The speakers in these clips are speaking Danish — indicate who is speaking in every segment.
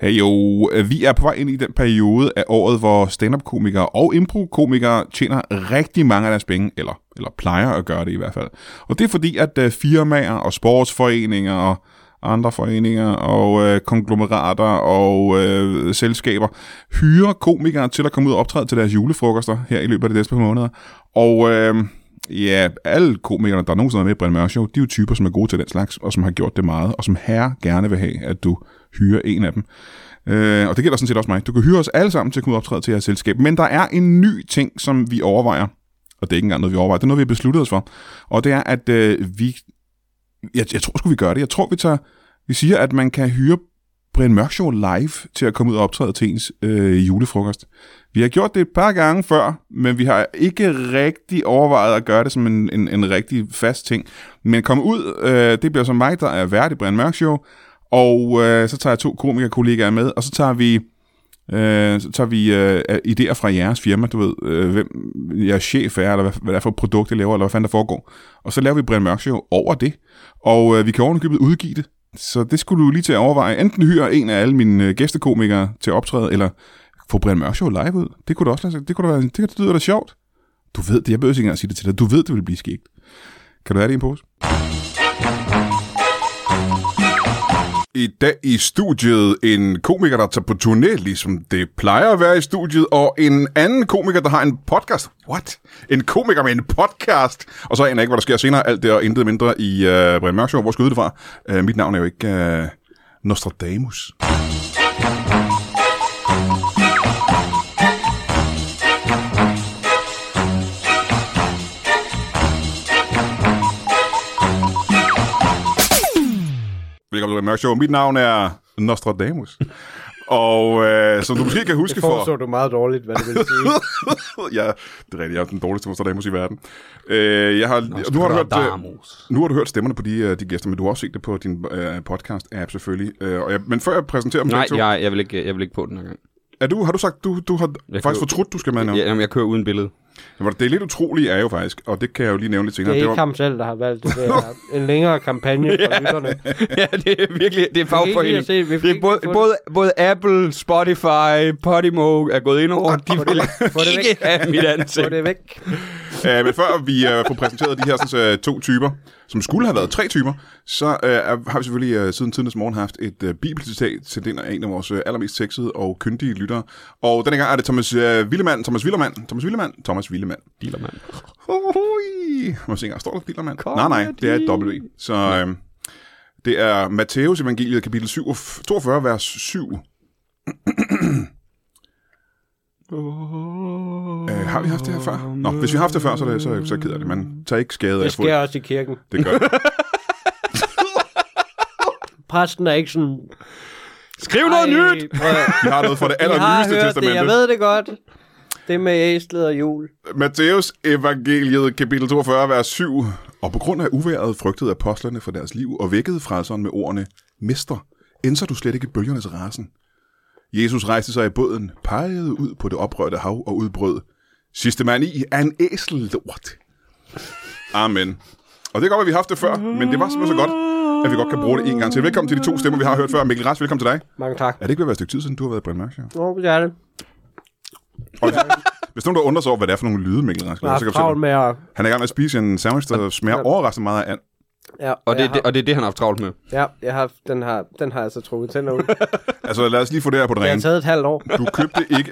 Speaker 1: Hey jo, vi er på vej ind i den periode af året, hvor stand-up-komikere og impro-komikere tjener rigtig mange af deres penge, eller, eller plejer at gøre det i hvert fald. Og det er fordi, at øh, firmaer og sportsforeninger og andre foreninger og øh, konglomerater og øh, selskaber hyrer komikere til at komme ud og optræde til deres julefrokoster her i løbet af de næste par måneder. Og øh, ja, alle komikerne, der nogensinde er med i Brian Mørk Show, de er jo typer, som er gode til den slags, og som har gjort det meget, og som herre gerne vil have, at du hyrer en af dem. Øh, og det gælder sådan set også mig. Du kan hyre os alle sammen til at kunne optræde til jeres selskab. Men der er en ny ting, som vi overvejer. Og det er ikke engang noget, vi overvejer. Det er noget, vi har besluttet os for. Og det er, at øh, vi... Jeg, jeg tror sgu, vi gør det. Jeg tror, vi tager... Vi siger, at man kan hyre Brian Mørk Show live til at komme ud og optræde til ens øh, julefrokost. Vi har gjort det et par gange før, men vi har ikke rigtig overvejet at gøre det som en, en, en rigtig fast ting. Men komme ud, øh, det bliver som mig, der er vært i Brian Mørk Show, og øh, så tager jeg to komikerkollegaer med, og så tager vi, øh, så tager vi øh, idéer fra jeres firma, du ved, øh, hvem jeres chef er, eller hvad, hvad det er for et produkt, jeg laver, eller hvad fanden der foregår. Og så laver vi Brian Mørk Show over det, og øh, vi kan ovenikøbet udgive det. Så det skulle du lige til at overveje. Enten hyre en af alle mine øh, gæstekomikere til at optræde, eller få Brian Mørk Show live ud. Det kunne da også lade sig. Det kunne da være, det, det lyder da sjovt. Du ved det, jeg behøver ikke engang at sige det til dig. Du ved, det vil blive skægt. Kan du have det i en pose? I dag i studiet en komiker, der tager på turné, ligesom det plejer at være i studiet, og en anden komiker, der har en podcast. What? En komiker med en podcast? Og så aner jeg ikke, hvad der sker senere. Alt det og intet mindre i øh, Brian Mørk Show. Hvor skal jeg vide det fra? Øh, mit navn er jo ikke øh, Nostradamus. Velkommen til Brian Mørk Show. Mit navn er Nostradamus. Og øh, som du måske kan huske
Speaker 2: Det
Speaker 1: for...
Speaker 2: forudså du meget dårligt, hvad det vil sige.
Speaker 1: ja, det er rigtigt. Jeg er den dårligste Nostradamus i verden. Øh, jeg har, nu, har du hørt, øh, nu har du hørt stemmerne på de, øh, de gæster, men du har også set det på din øh, podcast-app selvfølgelig. Øh, og jeg, men før jeg præsenterer dem,
Speaker 3: Nej,
Speaker 1: begge to,
Speaker 3: jeg, jeg, vil ikke, jeg vil ikke på den her gang.
Speaker 1: er du, har du sagt, du, du har
Speaker 3: Jeg
Speaker 1: faktisk
Speaker 3: kan-
Speaker 1: fortrudt, du skal med nu?
Speaker 3: Ja, jamen, jeg kører uden billede.
Speaker 1: Yeah. Det er lidt utroligt er jo faktisk, og det kan jeg jo lige nævne lidt
Speaker 2: Det
Speaker 1: senere.
Speaker 2: er ikke
Speaker 1: var,
Speaker 2: ham selv, der har valgt det. Det er en længere kampagne for lytterne.
Speaker 3: ja, det er virkelig, det er
Speaker 2: lige
Speaker 3: fagforening.
Speaker 2: at se, vi fik
Speaker 3: Det er
Speaker 2: ikke
Speaker 3: både,
Speaker 2: fundet-
Speaker 3: både, både Apple, Spotify, Podimo Ah, er gået ind over. De vil
Speaker 2: få det væk.
Speaker 3: ikke have mit
Speaker 2: Få
Speaker 3: ansigt.
Speaker 2: det væk.
Speaker 1: øh, men før vi øh, får præsenteret de her sådan, øh, to typer, som skulle have været tre typer, så øh, er- har vi selvfølgelig øh, siden tidens morgen haft et øh, bibelcitat til den af en af vores øh, allermest sexede og kyndige lyttere. Og denne gang er det Thomas øh, Willemann, Thomas Willemann, Thomas Willemann, Thomas Willemann.
Speaker 3: Dealer, mand.
Speaker 1: Hoi. Må jeg se engang, står der Dillermand?
Speaker 3: Kom
Speaker 1: Nej, nej,
Speaker 3: med
Speaker 1: det er et
Speaker 3: de-
Speaker 1: W. Så øhm, det er Matteus evangeliet, kapitel 7, 42, vers 7. Øh, har vi haft det her før? Nå, hvis vi har haft det før, så, er det, så, så keder det. Man tager ikke skade af
Speaker 2: Det
Speaker 1: at få det.
Speaker 2: sker også i kirken.
Speaker 1: Det gør det.
Speaker 2: Præsten er ikke sådan...
Speaker 3: Skriv noget
Speaker 2: "Ej,
Speaker 3: nyt!
Speaker 2: prøv at-
Speaker 1: Vi har noget fra det
Speaker 2: I har
Speaker 1: allernyeste
Speaker 2: hørt det, jeg
Speaker 1: testamente.
Speaker 2: ved det godt. Det med æslet og jul.
Speaker 1: Matteus evangeliet, kapitel 42, vers 7. Og på grund af uværet frygtede apostlerne for deres liv og vækkede frelseren med ordene, Mester, ændser du slet ikke bølgernes rasen? Jesus rejste sig i båden, pegede ud på det oprørte hav og udbrød, Sidste mand i er en æselort. Amen. Og det er godt, at vi har haft det før, men det var simpelthen så godt, at vi godt kan bruge det en gang til. Velkommen til de to stemmer, vi har hørt før. Mikkel Rask, velkommen til dig.
Speaker 2: Mange tak.
Speaker 1: Er det ikke ved at være et stykke tid siden, du har været i Brian Mørk Show?
Speaker 2: Nå, det er det.
Speaker 1: Og hvis, hvis nogen der undrer sig over, hvad det er for nogle lyde, Mikkel Rask,
Speaker 2: Jeg
Speaker 1: laver, så
Speaker 2: har
Speaker 1: kan du selv-
Speaker 2: travlt med at...
Speaker 1: han er i gang med at spise en sandwich, der smager overraskende meget af and.
Speaker 2: Ja,
Speaker 3: Og
Speaker 2: jeg
Speaker 3: det, det,
Speaker 2: har,
Speaker 3: og det er det, han har haft travlt med.
Speaker 2: ja, jeg har, den, har, den har jeg så trukket tænder ud. Det
Speaker 1: Altså lad os lige få det her på det
Speaker 2: har
Speaker 1: rene.
Speaker 2: taget et halvt år.
Speaker 1: Du købte ikke...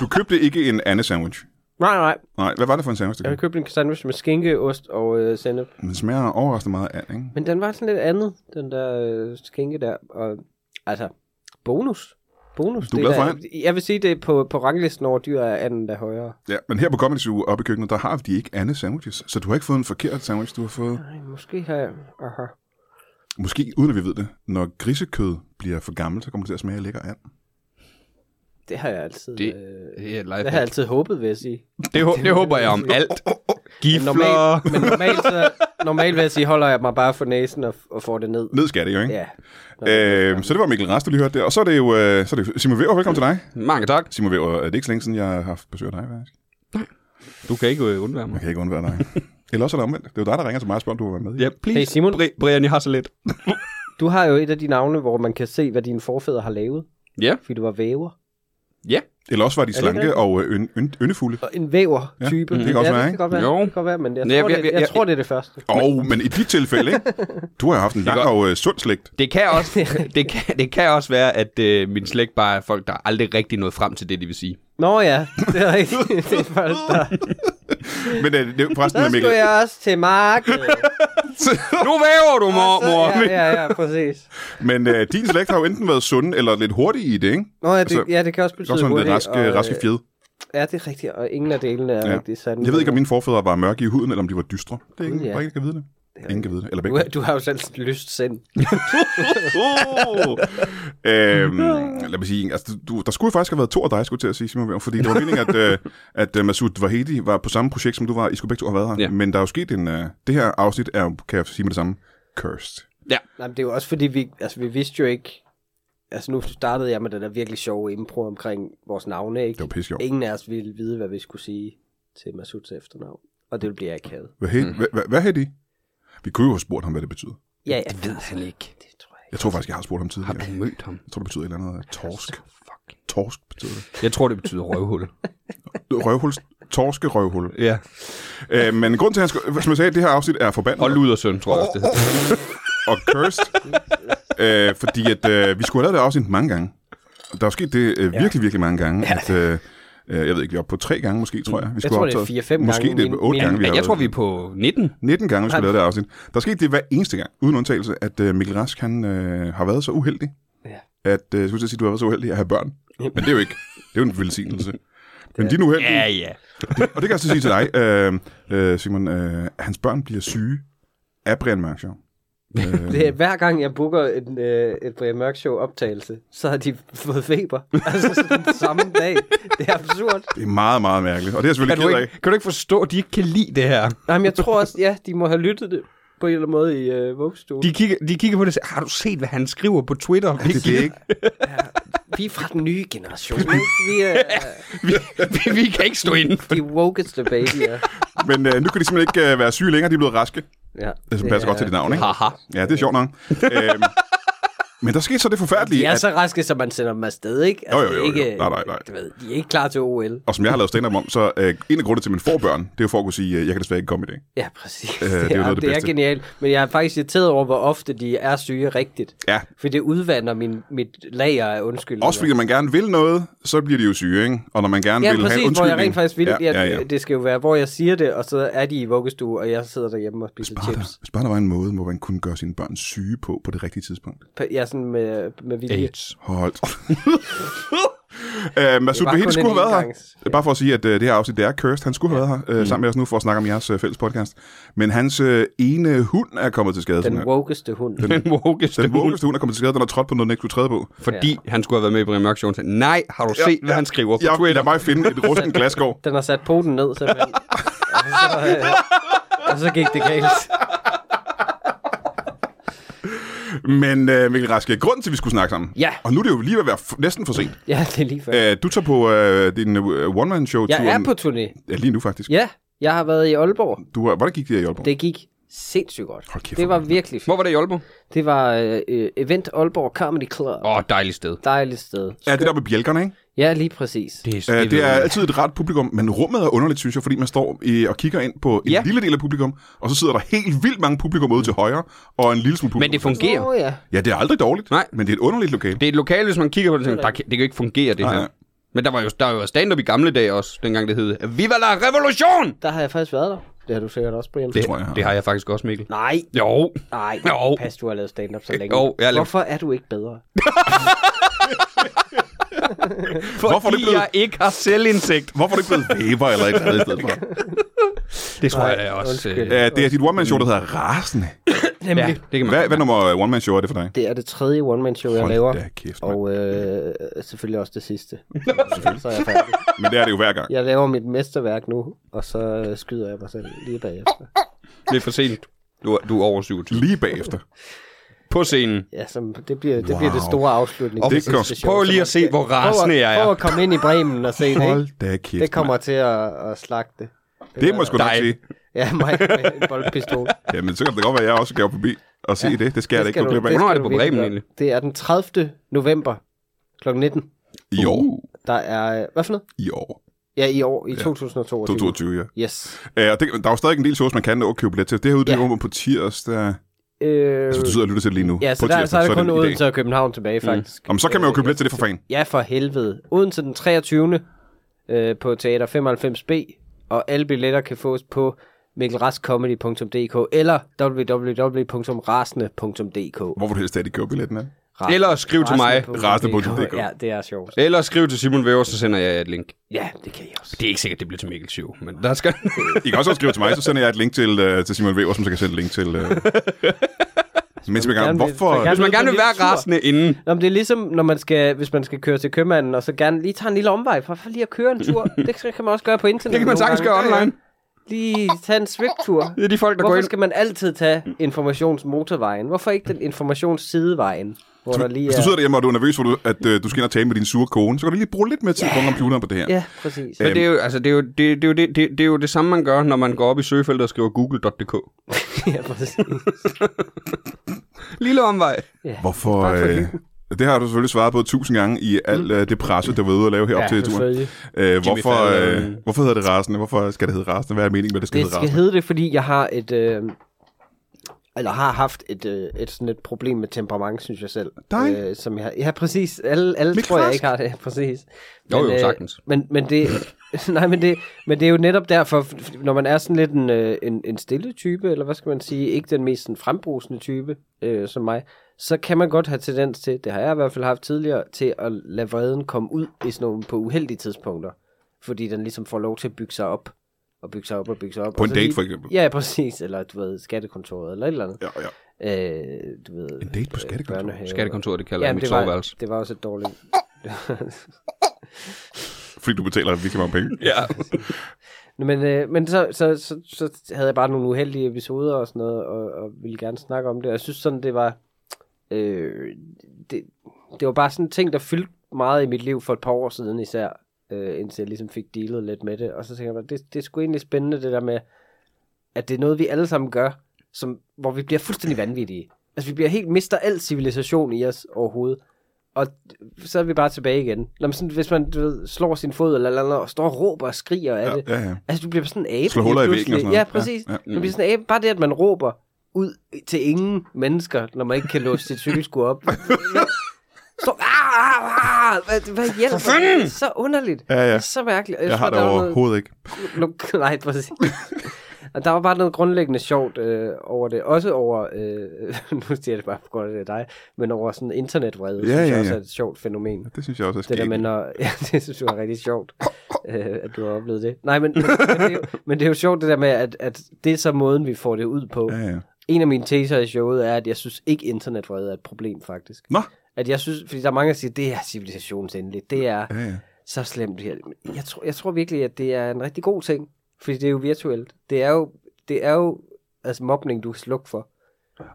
Speaker 1: du købte ikke en anden sandwich.
Speaker 2: Nej, nej.
Speaker 1: Nej, hvad var det for en sandwich, du
Speaker 2: Jeg har
Speaker 1: købte?
Speaker 2: købt en sandwich med skinke, ost og øh, sennep.
Speaker 1: Den smager overraskende meget af and, ikke?
Speaker 2: Men den var sådan lidt andet, den der øh, skænke der. Og, altså, bonus. Bonus.
Speaker 1: Du er
Speaker 2: det
Speaker 1: glad for
Speaker 2: der- Jeg vil sige, det er på, på ranglisten over dyr er anden der højere.
Speaker 1: Ja, men her på Comedy Zoo oppe i køkkenet, der har de ikke andet sandwiches. Så du har ikke fået en forkert sandwich, du har fået...
Speaker 2: Ej, måske har jeg... Aha.
Speaker 1: Måske uden at vi ved det. Når grisekød bliver for gammelt, så kommer det til at smage af lækker and.
Speaker 2: Det har jeg altid... Det,
Speaker 3: Det-
Speaker 2: øh,
Speaker 3: Det, er
Speaker 2: det har jeg
Speaker 3: life
Speaker 2: altid håbet, vil jeg sige.
Speaker 3: det, hå- det håber jeg om alt. Gifler.
Speaker 2: Normalt, men normalt, så, normalt vil jeg sige, holder jeg mig bare for næsen og, og får det ned.
Speaker 1: Ned skal det jo, ikke?
Speaker 2: Ja. Nå,
Speaker 1: Øh, så det var Mikkel Rast, du lige hørte der. Og så er det jo, øh, så er det jo Simon Væver, velkommen til dig.
Speaker 3: Mange tak.
Speaker 1: Simon Væver, er det ikke så længe siden, jeg har haft besøg af dig, faktisk?
Speaker 3: Du kan ikke øh, undvære
Speaker 1: Jeg
Speaker 3: mig.
Speaker 1: kan ikke undvære dig. Eller også er det omvendt. Det er jo dig, der ringer til mig og spørger, om du vil være med.
Speaker 3: Ja, please.
Speaker 2: Hey, Simon.
Speaker 3: Bri- Brian, jeg har så lidt.
Speaker 2: Du har jo et af de navne, hvor man kan se, hvad dine forfædre har lavet,
Speaker 3: Ja,
Speaker 2: fordi du var væver.
Speaker 3: ja.
Speaker 1: Eller også var de
Speaker 2: det rigtigt?
Speaker 1: slanke og øh, ynd- ynd- yndefulde.
Speaker 2: Og En væver-type.
Speaker 1: Ja, det kan også være,
Speaker 2: ja, det kan
Speaker 1: ikke?
Speaker 2: godt være,
Speaker 3: Jo.
Speaker 2: Det kan godt være, men jeg,
Speaker 3: Men jeg-
Speaker 2: tror,
Speaker 3: jeg-
Speaker 2: det, jeg,
Speaker 3: jeg-
Speaker 2: tror, det er det første.
Speaker 1: Åh, men i dit tilfælde, ikke? Du har haft en lang
Speaker 3: Det er
Speaker 1: og øh, sund slægt.
Speaker 3: Det kan også, det kan, det kan også være, at øh, min slægt bare er folk, der aldrig rigtig nået frem til det, de vil sige.
Speaker 2: Nå ja, det er rigtigt. Det er først der.
Speaker 1: Men øh, det, forresten,
Speaker 2: Så
Speaker 1: med Mikkel,
Speaker 2: skulle jeg også til markedet.
Speaker 3: Nu væver du,
Speaker 2: Og
Speaker 3: mor,
Speaker 2: så-
Speaker 3: mor.
Speaker 2: Ja, ja, ja, præcis.
Speaker 1: men øh, din slægt har jo enten været sunde eller lidt hurtige i det, ikke?
Speaker 2: Nå, ja, det,
Speaker 1: Altså,
Speaker 2: altså, ja, det kan også betyde
Speaker 1: Godt sådan lidt
Speaker 2: hurtigt,
Speaker 1: rask, øh, raske fjed.
Speaker 2: Ja, det er rigtigt, og ingen af delene er
Speaker 1: Ja.
Speaker 2: ja. rigtig sande.
Speaker 1: Jeg ved ikke, om mine forfædre var mørke i huden, eller om de var dystre. Det er ingen,
Speaker 2: Gud, ja.
Speaker 1: ja. ikke, kan vide det. Ingen kan vide det. Eller
Speaker 2: Du,
Speaker 1: begge.
Speaker 2: du har jo selv lyst sind.
Speaker 1: Oh! øhm, lad mig sige, altså, du, der skulle jo faktisk have været to af dig, skulle jeg til at sige, Simon Wern, fordi det var meningen, at, øh, at øh, Masoud Vahedi var på samme projekt, som du var. I skulle begge to have været her.
Speaker 3: Ja.
Speaker 1: Ja. Men der er jo sket en... Øh, det her afsnit er jo, kan jeg sige med det samme, cursed.
Speaker 2: Nej, men det er jo også fordi, vi, altså, vi vidste jo ikke... Altså nu startede jeg med den der virkelig sjove impro omkring vores navne, ikke?
Speaker 1: Det var pisse sjovt.
Speaker 2: Ingen af os ville vide, hvad vi skulle sige til Masuds efternavn. Og det bliver akavet.
Speaker 1: Vahedi,
Speaker 3: Mhm.
Speaker 1: mm. hvad, hvad Vahedi? Vi kunne jo have spurgt ham, hvad det betyder.
Speaker 2: Ja, ja.
Speaker 3: ved
Speaker 2: Det tror
Speaker 3: han ikke.
Speaker 2: jeg ikke.
Speaker 1: Jeg tror faktisk, jeg har spurgt ham tidligere.
Speaker 3: Har du mødt ham?
Speaker 1: Jeg tror, det betyder et eller andet øh, torsk.
Speaker 3: Fuck.
Speaker 1: Torsk betyder det.
Speaker 3: Jeg tror, det betyder røvhul.
Speaker 1: Røvhul. Torske røvhul.
Speaker 3: ja.
Speaker 1: Øh, men grund til, at han skulle, som jeg sagde, det her afsnit er forbandet.
Speaker 3: Og ludersøn, tror jeg også, det hedder.
Speaker 1: og cursed. øh, fordi at, øh, vi skulle have lavet det afsnit mange gange. Og Der er jo sket det øh, virkelig, virkelig mange gange. At, øh, øh, jeg ved ikke, vi er oppe på tre gange måske, tror jeg. Vi
Speaker 2: Jeg
Speaker 1: skulle
Speaker 2: tror,
Speaker 1: have
Speaker 2: det er
Speaker 1: optaget-
Speaker 2: fire-fem
Speaker 1: Måske
Speaker 2: gange.
Speaker 1: det er
Speaker 2: Min-
Speaker 1: otte
Speaker 2: min-
Speaker 1: gange, vi
Speaker 3: Ja,
Speaker 1: har
Speaker 3: jeg tror,
Speaker 1: lavet
Speaker 3: vi er på 19.
Speaker 1: det. 19 gange, vi skulle
Speaker 2: Nej.
Speaker 1: have lavet det afsnit. Der er sket det hver eneste gang, uden undtagelse, at øh, Mikkel Rask, han øh, har været så uheldig,
Speaker 2: Ja.
Speaker 1: at, øh, jeg skulle til at sige, du har været så uheldig at have børn. Men det er jo ikke. Det er jo en velsignelse. Men din uheldige,
Speaker 3: Ja, ja.
Speaker 1: og det kan jeg så sige til dig, øh, øh, Simon, øh, hans børn bliver syge af Brian Mørk Show. Øh,
Speaker 2: Det er, hver gang jeg booker en, øh, et Brian Mørk Show optagelse, så har de fået feber. Altså sådan den samme dag. Det er absurd.
Speaker 1: Det er meget, meget mærkeligt. Og det er jeg
Speaker 3: Kan
Speaker 1: selvfølgelig
Speaker 3: du,
Speaker 1: ked af.
Speaker 3: ikke, kan du ikke forstå, at de ikke kan lide det her?
Speaker 2: Jamen, jeg tror også, ja, de må have lyttet det på en eller anden måde i øh, vuggestuen.
Speaker 3: De kigger, de kigger på det og siger, har du set, hvad han skriver på Twitter? Vi,
Speaker 1: Det, det er ikke.
Speaker 2: Vi er fra den nye generation. ikke? Vi er øh,
Speaker 3: vi, vi, vi kan ikke stå inde.
Speaker 2: de wokeste babyer.
Speaker 1: Men øh, nu kan de simpelthen ikke øh, være syge længere. De er blevet raske.
Speaker 2: Ja,
Speaker 1: Det, som passer
Speaker 2: er-
Speaker 1: godt til dit navn, ikke?
Speaker 3: Haha.
Speaker 1: Ja, det er sjovt nok. Øhm, men der skete så det
Speaker 2: De
Speaker 1: forfærdelige,
Speaker 2: er
Speaker 1: at,
Speaker 2: så raske, som man sender dem afsted, ikke? Altså,
Speaker 1: Jo, jo, jo, jo.
Speaker 2: det er Ikke,
Speaker 1: Nej, nej, nej.
Speaker 2: Du ved, de er ikke klar til OL.
Speaker 1: og som jeg har lavet stand om, så øh, en af grundene til, at man får børn, det er jo for at kunne sige, øh, jeg kan desværre ikke komme i dag.
Speaker 2: Ja, præcis.
Speaker 1: Øh, det er jo noget af det
Speaker 2: det er
Speaker 1: bedste.
Speaker 2: genialt. Men jeg er faktisk irriteret over, hvor ofte de er syge rigtigt.
Speaker 1: Ja,
Speaker 2: For det udvander min, mit lager af undskyldninger.
Speaker 1: også fordi når man gerne vil noget, så bliver de jo syge, ikke? Og når man gerne
Speaker 2: Ja,
Speaker 1: vil have en
Speaker 2: præcis, hvor jeg
Speaker 1: undskyldning...
Speaker 2: rent faktisk vil.
Speaker 1: ja, ja, ja.
Speaker 2: Det, det skal jo være, hvor jeg siger det, og så er de i vuggestue, og jeg sidder derhjemme og spiser
Speaker 1: Bare der,
Speaker 2: chips.
Speaker 1: hvis bare der var en måde, hvor man kunne gøre sine børn syge på på det rigtige tidspunkt.
Speaker 2: Jeg er sådan med, med vilje.
Speaker 3: AIDS.
Speaker 1: Hold. øh, Masud
Speaker 2: kun
Speaker 1: Bahedi
Speaker 2: en
Speaker 1: skulle have været her.
Speaker 2: engangs- Mm.
Speaker 1: Det er Bare for at sige, at øh, det her afsnit, det er Cursed. Han skulle have været her øh, sammen med os nu for at snakke om jeres øh, fælles podcast. Men hans øh, ene hund er kommet til skade.
Speaker 2: Den
Speaker 1: simpelthen.
Speaker 2: wokeste hund.
Speaker 3: Den wokeste
Speaker 1: den
Speaker 3: hund.
Speaker 1: vågeste hund er kommet til skade. Den har trådt på noget, den ikke skulle træde på.
Speaker 3: Fordi han skulle have været med i Brian Mørk Show. Nej, har du
Speaker 1: Ja,
Speaker 3: set, hvad
Speaker 1: ja.
Speaker 3: han skriver på
Speaker 1: Jeg,
Speaker 3: Twitter?
Speaker 1: lad mig finde et rusten glasgård.
Speaker 2: Den har sat poten ned, simpelthen. og, så, øh, og så gik det galt.
Speaker 1: Men øh, Mikkel Raske, grund til, at vi skulle snakke sammen.
Speaker 2: Ja.
Speaker 1: Og nu er det jo lige ved at være f- næsten for sent.
Speaker 2: Ja, det er lige før.
Speaker 1: Øh, du tager på øh, din øh, one-man-show.
Speaker 2: jeg er på turné.
Speaker 1: Ja, lige nu faktisk.
Speaker 2: Ja, jeg har været i Aalborg.
Speaker 1: Du, øh, hvordan gik det her i Aalborg?
Speaker 2: Det gik sindssygt godt.
Speaker 1: Hold kæft,
Speaker 2: det var
Speaker 1: hvor
Speaker 2: virkelig
Speaker 3: Hvor
Speaker 2: fedt.
Speaker 3: var det i Aalborg?
Speaker 2: Det var øh, event Aalborg Comedy Club.
Speaker 3: Åh, oh, dejligt sted.
Speaker 2: Dejligt sted.
Speaker 1: Ja, det der med bjælkerne, ikke?
Speaker 2: Ja, lige præcis.
Speaker 3: Det er,
Speaker 1: Øh, det er altid et rart publikum, men rummet er underligt, synes jeg, fordi man står øh, og kigger ind på en
Speaker 3: Ja.
Speaker 1: ja. lille del af publikum, og så sidder der helt vildt mange publikum ude til højre, og en lille smule
Speaker 3: Men
Speaker 1: publikum.
Speaker 3: det fungerer.
Speaker 2: Åh, ja.
Speaker 1: ja, det er aldrig dårligt,
Speaker 3: Nej.
Speaker 1: men det er et underligt lokale.
Speaker 3: Det er et lokale, hvis man kigger på det, tænker, man, der, kan- det kan jo ikke fungere, det
Speaker 1: Nej,
Speaker 3: her.
Speaker 1: nej.
Speaker 3: Men der var jo, der var jo stand-up i gamle dage også, dengang det hed Viva la Revolution!
Speaker 2: Der har jeg faktisk været der. Det har du sikkert også, Brian.
Speaker 1: tror jeg, jeg har.
Speaker 3: det har jeg faktisk også, Mikkel.
Speaker 2: Nej,
Speaker 3: Jo.
Speaker 2: nej.
Speaker 3: Jo.
Speaker 2: Pas, du har lavet stand-up så længe.
Speaker 3: Jo, Øh, jeg har lavet-
Speaker 2: Hvorfor er du ikke bedre?
Speaker 1: Hvorfor er det
Speaker 3: Fordi
Speaker 1: blevet-
Speaker 3: jeg ikke har selvindsigt.
Speaker 1: Hvorfor er det ikke blevet væver eller et eller andet i stedet for?
Speaker 3: Det tror
Speaker 2: Nej,
Speaker 3: jeg også.
Speaker 2: undskyld.
Speaker 3: Øh,
Speaker 1: Ja, det er dit one-man-show, der hedder Rasende.
Speaker 3: ja, det kan man.
Speaker 1: Hvad, hvad nummer øh, one-man-show er det for dig?
Speaker 2: Det er det tredje one-man-show, jeg
Speaker 1: Hold
Speaker 2: laver.
Speaker 1: da kæft, mand.
Speaker 2: og øh, selvfølgelig også det sidste. så er jeg færdig.
Speaker 1: Men det er det jo hver gang.
Speaker 2: Jeg laver mit mesterværk nu, og så øh, skyder jeg mig selv lige bagefter.
Speaker 3: Det er for sent. Du, er- du er over 27.
Speaker 1: Lige bagefter.
Speaker 3: På scenen.
Speaker 2: Ja, så det bliver det,
Speaker 1: Wow.
Speaker 2: bliver det store afslutning.
Speaker 1: Og
Speaker 2: til
Speaker 1: det
Speaker 2: sidste
Speaker 1: går-
Speaker 2: show,
Speaker 3: Prøv
Speaker 2: så
Speaker 3: lige
Speaker 2: man
Speaker 3: at se,
Speaker 2: skal-
Speaker 3: hvor
Speaker 2: prøv
Speaker 3: rasende
Speaker 2: at-
Speaker 3: jeg
Speaker 2: Prøv
Speaker 3: er.
Speaker 2: at komme ind i Bremen og se det.
Speaker 1: Hold
Speaker 2: Ikke?
Speaker 1: da kæft,
Speaker 2: Det kommer
Speaker 1: mand.
Speaker 2: til at, at slagte.
Speaker 1: Det må jeg sgu nok
Speaker 3: Dig.
Speaker 1: sige.
Speaker 2: Ja, mig med en boldpistol.
Speaker 1: Jamen, så kan det godt være, at jeg også gav forbi. at se ja, det. Det skal jeg da ikke gå glip af.
Speaker 3: Hvornår er
Speaker 2: skal
Speaker 3: det
Speaker 2: du
Speaker 3: på
Speaker 2: virkelig
Speaker 3: Bremen
Speaker 2: gøre.
Speaker 3: egentlig?
Speaker 2: Det er den 30. november kl. 19.
Speaker 1: I år.
Speaker 2: Der er, hvad for noget?
Speaker 1: I år.
Speaker 2: Ja, i år, i 2022.
Speaker 1: 2022, ja.
Speaker 2: Yes.
Speaker 1: Øh, og det, der er jo stadig en del shows, man kan nå at købe billet til. Det her uddykker ja. på tirsdag.
Speaker 2: Øh,
Speaker 3: Altså,
Speaker 1: Hvis du sidder og lytter til det lige nu.
Speaker 2: ja, så
Speaker 1: på
Speaker 2: der,
Speaker 1: tirsdag,
Speaker 2: så er der kun
Speaker 1: i dag.
Speaker 2: Odense og København tilbage,
Speaker 3: Mm.
Speaker 2: faktisk.
Speaker 1: Jamen, så kan man jo købe billet til det for fan.
Speaker 2: Ja, for helvede. Odense den 23. Øh, på Teater 95B, og alle billetter kan fås på mikkelraskcomedy.dk eller www.rasende.dk.
Speaker 1: Hvor vil du helst have, at de køber billetten af?
Speaker 3: Eller skriv til mig,
Speaker 1: rasende.dk.
Speaker 2: Ja, det er sjovt.
Speaker 3: Eller skriv til Simon Væver, så sender jeg jer et link.
Speaker 2: Ja, det kan I også.
Speaker 3: Det er ikke sikkert, det bliver til Mikkel 7, men der skal...
Speaker 1: I kan også skrive til mig, så sender jeg et link til, øh, til Simon Weber, som så kan sende et link til... Øh... Men til gang,
Speaker 2: gerne vil-
Speaker 1: hvorfor...
Speaker 2: så
Speaker 3: Hvis man gerne vil være rasende inden,
Speaker 2: Nå, men det er ligesom, når man skal, hvis man skal køre til købmanden, og så gerne lige tage en lille omvej, for, for lige at køre en tur. det kan man også gøre på internet.
Speaker 3: det kan man
Speaker 2: nogle
Speaker 3: sagtens
Speaker 2: gange.
Speaker 3: gøre online.
Speaker 2: Lige tage en svigtur.
Speaker 3: Det er de folk, der går
Speaker 2: Hvorfor
Speaker 3: ind.
Speaker 2: skal man altid tage informationsmotorvejen? Hvorfor ikke den informationssidevejen? Hvor der lige
Speaker 1: Hvis du
Speaker 2: er...
Speaker 1: sidder derhjemme, og du er nervøs for, du- at øh, du skal ind og tale med din sure kone, så kan du lige bruge lidt mere tid på computeren på det her.
Speaker 2: Ja, præcis.
Speaker 3: Men det er jo, altså, det, er jo, det, det, er jo det, det, det er jo det samme, man gør, når man går op i søgefeltet og skriver google.dk.
Speaker 2: ja, præcis.
Speaker 3: Lille omvej.
Speaker 1: Hvorfor...
Speaker 2: Bare for Mm.
Speaker 1: Øh... Det har du selvfølgelig svaret på tusind gange i alt øh, det presse, der var ude at lave her op
Speaker 2: Ja,
Speaker 1: til turen.
Speaker 2: selvfølgelig.
Speaker 1: Øh, hvorfor,
Speaker 3: Fallon.
Speaker 1: øh, hvorfor hedder det rasende? Hvorfor skal det hedde rasende? Hvad er meningen med, at det skal
Speaker 2: Det
Speaker 1: hedde
Speaker 2: skal
Speaker 1: rasende?
Speaker 2: hedde det, fordi jeg har et... Øh, eller har haft et, øh, et sådan et problem med temperament, synes jeg selv.
Speaker 1: Dig?
Speaker 2: Øh, som jeg, ja, præcis. Alle, alle
Speaker 1: Mikkel
Speaker 2: tror jeg
Speaker 1: Rask?
Speaker 2: ikke har det, præcis.
Speaker 3: Jo, jo,
Speaker 2: øh,
Speaker 3: sagtens.
Speaker 2: Men, men, det, nej, men, det, men det er jo netop derfor, f- f- når man er sådan lidt en, øh, en, en stille type, eller hvad skal man sige, ikke den mest sådan, frembrusende type øh, som mig, så kan man godt have tendens til, det har jeg i hvert fald haft tidligere, til at lade vreden komme ud i sådan nogle på uheldige tidspunkter. Fordi den ligesom får lov til at bygge sig op, og bygge sig op og bygge sig op.
Speaker 1: På
Speaker 2: og
Speaker 1: en
Speaker 2: så
Speaker 1: date,
Speaker 2: lige-
Speaker 1: for eksempel?
Speaker 2: Ja, præcis. Eller du ved, skattekontoret, eller et eller andet.
Speaker 1: Ja, ja.
Speaker 2: Øh, du ved,
Speaker 1: En date på skattekontoret?
Speaker 2: børnehave.
Speaker 3: Skattekontoret, det kalder jeg
Speaker 2: Jamen,
Speaker 3: mit
Speaker 2: det var,
Speaker 3: soveværelse.
Speaker 2: det var også et dårligt
Speaker 1: Fordi du betaler virkelig mange penge.
Speaker 3: Ja.
Speaker 2: Nå, Men, øh, men så, så, så, så havde jeg bare nogle uheldige episoder og sådan noget, og, og ville gerne snakke om det. Og jeg synes sådan, det var... Øh, det, det var bare sådan en ting, der fyldte meget i mit liv for et par år siden især, øh, indtil jeg ligesom fik dealet lidt med det. Og så tænker jeg bare, det, det er sgu egentlig spændende det der med, at det er noget, vi alle sammen gør, som, hvor vi bliver fuldstændig vanvittige. Altså, vi bliver helt, mister al civilisation i os overhovedet. Og så er vi bare tilbage igen. Når man sådan, hvis man du ved, slår sin fod eller, eller, eller og står og råber og skriger af
Speaker 1: Ja,
Speaker 2: det,
Speaker 1: ja, ja.
Speaker 2: Altså, du bliver sådan en abe.
Speaker 1: Slå
Speaker 2: lige
Speaker 1: huller i væggen
Speaker 2: pludselig.
Speaker 1: og sådan noget.
Speaker 2: Ja, præcis.
Speaker 1: Ja,
Speaker 2: Ja,
Speaker 1: ja.
Speaker 2: ja. Man bliver sådan en abe. Bare det, at man råber ud til ingen mennesker, når man ikke kan låse sit cykelskur op. Så, ah, ah, ah, hvad, hvad hjælper det? Så underligt.
Speaker 1: Ja, ja.
Speaker 2: Så mærkeligt. Og
Speaker 1: Jeg har
Speaker 2: tror,
Speaker 1: det
Speaker 2: der var noget-
Speaker 1: overhovedet ikke.
Speaker 2: Luk- Nej, præcis. Og der var bare noget grundlæggende sjovt øh, over det. Også over, øh, nu siger jeg det bare på grund af det er dig, men over sådan internetvrede,
Speaker 1: Ja,
Speaker 2: ja, synes
Speaker 1: ja,
Speaker 2: jeg også
Speaker 1: ja.
Speaker 2: er et sjovt fænomen.
Speaker 1: Det synes jeg også er
Speaker 2: Det der med,
Speaker 1: skægt.
Speaker 2: når... Ja, det synes jeg var rigtig sjovt, øh, at du har oplevet det. Nej, men, men, men, det er jo, men det er jo sjovt det der med, at, at det er så måden, vi får det ud på.
Speaker 1: Ja, ja.
Speaker 2: En af mine teser i showet er, at jeg synes ikke, internetvrede er et problem, faktisk.
Speaker 1: Nå,
Speaker 2: At jeg synes, fordi der er mange, der siger, det er civilisationsendeligt, det er
Speaker 1: ja, ja.
Speaker 2: så slemt det her. Men Jeg tror, jeg tror virkelig, at det er en rigtig god ting, fordi det er jo virtuelt. Det er jo, det er jo altså mobning, du kan slukke for.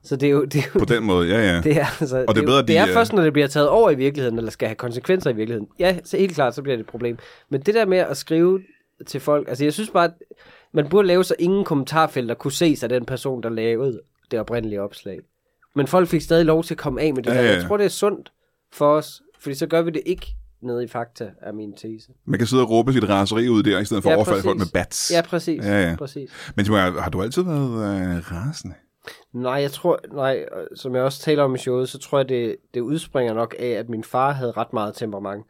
Speaker 2: Så det er jo, det er jo
Speaker 1: På den måde, ja, ja.
Speaker 2: det er, altså, og
Speaker 1: det er bedre,
Speaker 2: det,
Speaker 1: de,
Speaker 2: er
Speaker 1: øh,
Speaker 2: først, når det bliver taget over i virkeligheden, eller skal have konsekvenser i virkeligheden. Ja, så helt klart, så bliver det et problem. Men det der med at skrive til folk, altså jeg synes bare, at man burde lave så ingen kommentarfelter kunne ses af den person, der lavede det oprindelige opslag. Men folk fik stadig lov til at komme af med det
Speaker 1: Ja,
Speaker 2: ja, der.
Speaker 1: ja,
Speaker 2: Jeg
Speaker 1: ja.
Speaker 2: tror, det er sundt for os, fordi så gør vi det ikke nede i fakta, er min tese.
Speaker 1: Man kan sidde og råbe sit raseri ud der, i stedet for ja,
Speaker 2: Ja,
Speaker 1: at overfalde
Speaker 2: præcis.
Speaker 1: folk med bats.
Speaker 2: Ja, præcis.
Speaker 1: Ja, ja.
Speaker 2: præcis.
Speaker 1: Men Simon, har du altid været øh, rasende?
Speaker 2: Nej, jeg tror, nej, og som jeg også taler om i showet, så tror jeg, det, det udspringer nok af, at min far havde ret meget temperament.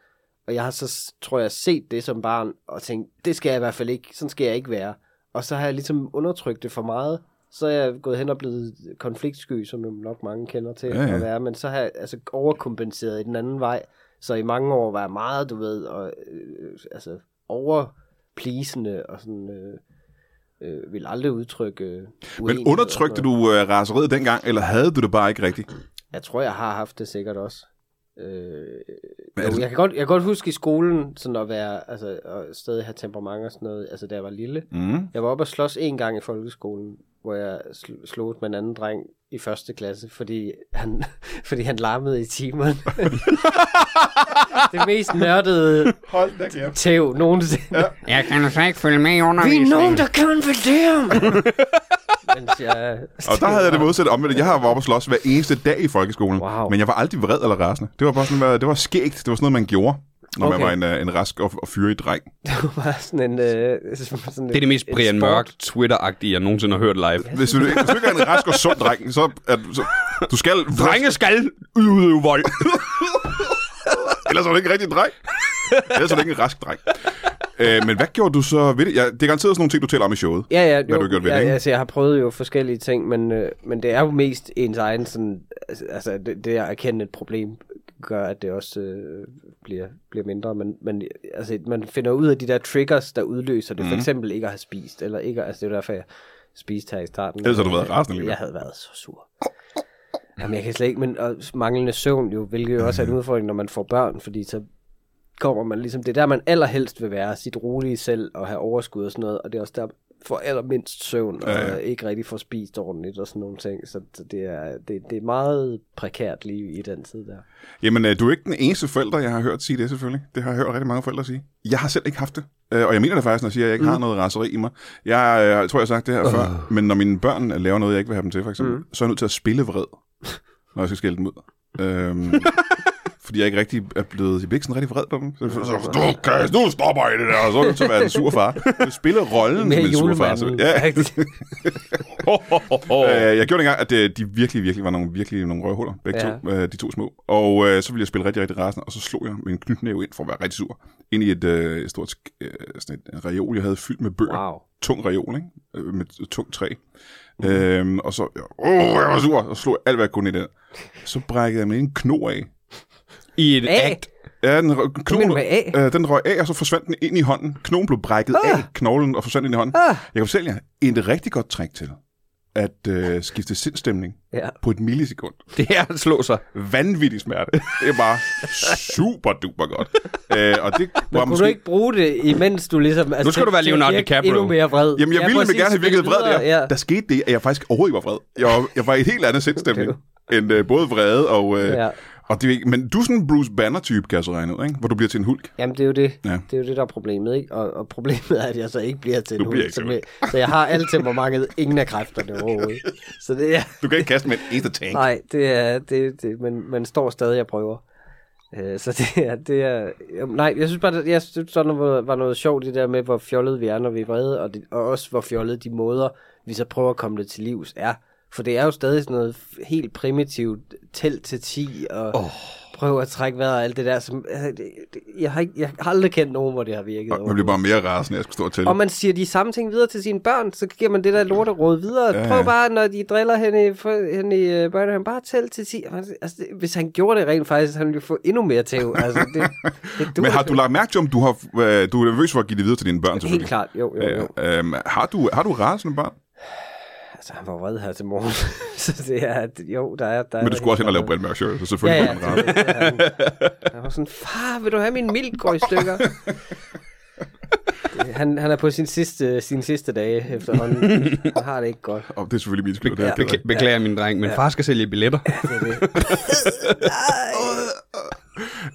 Speaker 2: Og jeg har så, s- tror jeg, set det som barn og tænkt, det skal jeg i hvert fald ikke, sådan skal jeg ikke være. Og så har jeg ligesom undertrykt det for meget. Så er jeg gået hen og blevet konfliktsky, som jo nok mange kender til
Speaker 1: Ja, ja.
Speaker 2: at være, men så har jeg altså overkompenseret i den anden vej. Så i mange år var jeg meget, du ved, og, øh, altså overplisende og sådan... Øh, øh, vil aldrig udtrykke øh,
Speaker 1: Men
Speaker 2: uenighed og sådan
Speaker 1: undertrykte du øh, raseriet dengang, eller havde du det bare ikke rigtigt?
Speaker 2: jeg tror, jeg har haft det sikkert også. Øh,
Speaker 1: Men
Speaker 2: jo,
Speaker 1: altså-
Speaker 2: jeg, kan godt, jeg kan godt huske i skolen, sådan at være, altså at stadig have temperament og sådan noget, altså da jeg var lille.
Speaker 1: Mm.
Speaker 2: Jeg var oppe og slås en gang i folkeskolen, hvor jeg sl- slog med en anden dreng i første klasse, fordi han, fordi han larmede i timerne. det mest nørdede
Speaker 1: Hold da kæft.
Speaker 2: tæv nogensinde.
Speaker 3: Jeg kan altså ikke følge med i undervisningen.
Speaker 2: Vi er nogen, der kan ved det. mens jeg...
Speaker 1: Og der havde jeg det modsatte omvendt. Jeg har været oppe og slås hver eneste dag i folkeskolen.
Speaker 2: Wow.
Speaker 1: Men jeg var aldrig vred eller rasende. Det var bare sådan, hvad- det var skægt. Det var sådan noget, man gjorde, når okay. man
Speaker 2: Okay.
Speaker 1: var en, øh, en rask og, og fyrig dreng.
Speaker 2: Det var bare sådan en... Øh, sådan
Speaker 3: Det er det mest Brian Mørk Twitter-agtige, jeg nogensinde har hørt live.
Speaker 1: Hvis du, hvis du ikke er en rask og sund dreng, så, er, du- så du skal...
Speaker 3: Drenge skal udøve vold.
Speaker 1: Ellers er du ikke en rigtig dreng. Ellers er du ikke en rask dreng. Øh, men hvad gjorde du så ved det? Ja, det er garanteret sådan nogle ting, du taler om i showet.
Speaker 2: Ja, ja.
Speaker 1: Hvad har du gjort ved
Speaker 2: ja,
Speaker 1: det, ikke?
Speaker 2: ja, altså, jeg har prøvet jo forskellige ting, men, øh, men det er jo mest ens egen sådan... altså- Altså, det, det at erkende et problem gør, at det også øh, bliver, bliver mindre. Men, men altså, man finder ud af de der triggers, der udløser
Speaker 1: Mhm.
Speaker 2: det. Mm. For eksempel ikke at have spist, eller ikke... at- Altså, det er jo derfor, jeg spiste her i starten.
Speaker 1: Ellers har du været rasende lige nu.
Speaker 2: Jeg havde været så sur. Jamen, jeg kan slet ikke... Men og manglende søvn jo, hvilket jo også er en
Speaker 1: Mhm.
Speaker 2: udfordring, når man får børn, fordi så kommer man ligesom, det er der, man allerhelst vil være, sit rolige selv og have overskud og sådan noget, og det er også der, får allermindst søvn, og
Speaker 1: Ja, ja.
Speaker 2: ikke rigtig får spist ordentligt og sådan nogle ting, så så det er, det, det er meget prekært liv i den tid der.
Speaker 1: Jamen, øh, du er ikke den eneste forælder, jeg har hørt sige det selvfølgelig. Det har jeg hørt rigtig mange forældre sige. Jeg har selv ikke haft det. Øh, Og jeg mener det faktisk, når jeg siger, at jeg ikke mm. har noget raseri i mig. Jeg, øh, jeg tror, jeg har sagt det her uh. før, men når mine børn øh, laver noget, jeg ikke vil have dem til, for eksempel, mm. så er jeg nødt til at spille vred, når jeg skal skælde dem ud. Øhm, fordi jeg ikke rigtig er blevet, jeg bliver ikke sådan rigtig vred på dem. Så, så, så du, kan, nu stopper I det der, og så er jeg nødt til at være en sur far. Du spiller rollen som
Speaker 2: Mere
Speaker 1: en sur far.
Speaker 2: julemanden.
Speaker 1: Så, ja,
Speaker 2: faktisk.
Speaker 1: Øh, jeg gjorde dengang, at øh, de virkelig, virkelig var nogle, virkelig nogle røvhuller, begge ja.
Speaker 2: Ja.
Speaker 1: to, øh, de to små. Og øh, så ville jeg spille rigtig, rigtig rasende, og så slog jeg med en knytnæve ind for at være rigtig sur. Ind i et øh, et stort sk- øh, sådan et reol, jeg havde fyldt med bøger.
Speaker 2: Wow.
Speaker 1: Tung reol, ikke? Øh, med et tungt træ.
Speaker 2: Mhm.
Speaker 1: Øhm, og så, åh, jeg var sur, og så slog jeg alt, hvad jeg kunne i den. Så brækkede jeg med en kno af.
Speaker 3: I en
Speaker 2: Af?
Speaker 3: act.
Speaker 1: Ja, den, røg-
Speaker 2: mener med af?
Speaker 1: øh, den røg af, og så forsvandt den ind i hånden. Knogen blev brækket ah. af knoglen og forsvandt ind i hånden. Ah. Jeg kan fortælle jer, et rigtig godt trick til at øh, skifte sindstemning
Speaker 2: Ja.
Speaker 1: på et millisekund.
Speaker 3: Det er at slå sig.
Speaker 1: Vanvittig smerte. Det er bare super duper godt. Øh, og det var
Speaker 2: Men kunne du ikke bruge det, imens du ligesom... Altså,
Speaker 3: Nu skal du være
Speaker 2: til at
Speaker 3: Leonardo
Speaker 2: virke
Speaker 3: DiCaprio.
Speaker 2: Endnu mere vred.
Speaker 1: Jamen, jeg ja, ville
Speaker 2: præcis.
Speaker 1: præcis, gerne have
Speaker 2: Spil
Speaker 1: virket vred der.
Speaker 2: videre,
Speaker 1: Ja. Der skete det, at jeg faktisk overhovedet ikke var vred. Jeg var, jeg var i et helt andet sindstemning. End øh, både vrede og... Øh, ja.
Speaker 2: Ja.
Speaker 1: og det, er ikke- men du er sådan en Bruce Banner-type, kan jeg så regne ud, ikke? hvor du bliver til en hulk.
Speaker 2: Jamen, det er jo det.
Speaker 1: Ja.
Speaker 2: Ja. Det er jo det, der er problemet, ikke? Og, og problemet er, at jeg så ikke bliver til en
Speaker 1: bliver
Speaker 2: hund.
Speaker 1: ikke
Speaker 2: Så,
Speaker 1: til
Speaker 2: jeg, så jeg har alt temperamentet, ingen af kræfterne overhovedet. Så det er...
Speaker 1: Du kan ikke kaste med en eneste tank.
Speaker 2: Nej, det er... Det, det, men man står stadig og prøver. Øh, så det er... Det er jamen, nej, jeg synes bare, det, jeg synes, sådan var, var noget sjovt, det der med, hvor fjollet vi er, når vi er vrede, og, det, og også hvor fjollet de måder, vi så prøver at komme det til livs, er. For det er jo stadig sådan noget f- helt primitivt tæl til 10, og oh. prøv at trække vejret og alt det der. Som, altså, det, det, jeg, har ikke, jeg har aldrig kendt nogen, hvor det har virket.
Speaker 1: Og Man bliver bare mere rasende, jeg skal stå og tælle.
Speaker 2: Og man siger de samme ting videre til sine børn, så giver man det der lorteråd videre.
Speaker 1: Ja, ja.
Speaker 2: Ja. Prøv bare, når de driller hende i, for, hende i øh, børnehaven, bare tæl til 10. Altså, det- hvis han gjorde det rent faktisk, så han ville få endnu mere tæv. Altså, det, det duer
Speaker 1: Men har
Speaker 2: ikke.
Speaker 1: du lagt mærke til, om du, har, øh, du er nervøs for at give det videre til dine børn,
Speaker 2: Helt
Speaker 1: selvfølgelig?
Speaker 2: klart, jo, jo, jo.
Speaker 1: Øh, øhm, har, du, har du rasende børn?
Speaker 2: Altså, han var vred her til morgen. så det er, at- jo, der er... Der er
Speaker 1: Men du skulle også hen og lave
Speaker 2: brænd.
Speaker 1: Brent Mørk Show, så
Speaker 2: Ja,
Speaker 1: selvfølgelig
Speaker 2: ja.
Speaker 1: ja, ja.
Speaker 2: det- det er han. Han var sådan, far, vil du have min milk går i stykker? Det- han, han er på sin sidste, sin sidste dage efterhånden. Han har det ikke godt.
Speaker 1: Og det er selvfølgelig min skyld. Det er jeg ked af.
Speaker 3: Bek- beklager, min dreng, men far skal sælge billetter.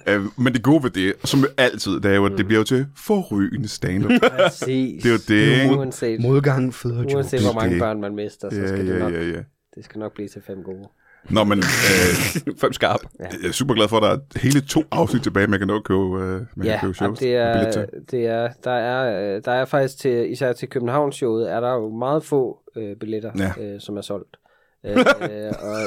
Speaker 1: Øh, men det gode ved det, som altid, det er jo, at
Speaker 2: Mm.
Speaker 1: det bliver jo til forrygende stand-up.
Speaker 2: Præcis.
Speaker 1: Det er jo det, ikke?
Speaker 2: Uanset,
Speaker 3: Modgang føder
Speaker 2: uanset hvor mange
Speaker 1: Det-
Speaker 2: børn man mister, så
Speaker 1: ja,
Speaker 2: skal det
Speaker 1: ja,
Speaker 2: nok,
Speaker 1: ja, ja.
Speaker 2: det skal nok blive til fem gode.
Speaker 1: Nå, men øh,
Speaker 3: Fem skarp.
Speaker 1: jeg er super glad for, at der er hele to afsnit tilbage, man kan nå at købe, øh, man
Speaker 2: Ja,
Speaker 1: kan købe
Speaker 2: jamen,
Speaker 1: shows.
Speaker 2: det
Speaker 1: og billet
Speaker 2: er,
Speaker 1: til.
Speaker 2: det er, der, er, øh, der er faktisk til, især til Københavnsshowet, er der jo meget få øh, billetter,
Speaker 1: Ja.
Speaker 2: ja. øh, som er solgt. øh, og,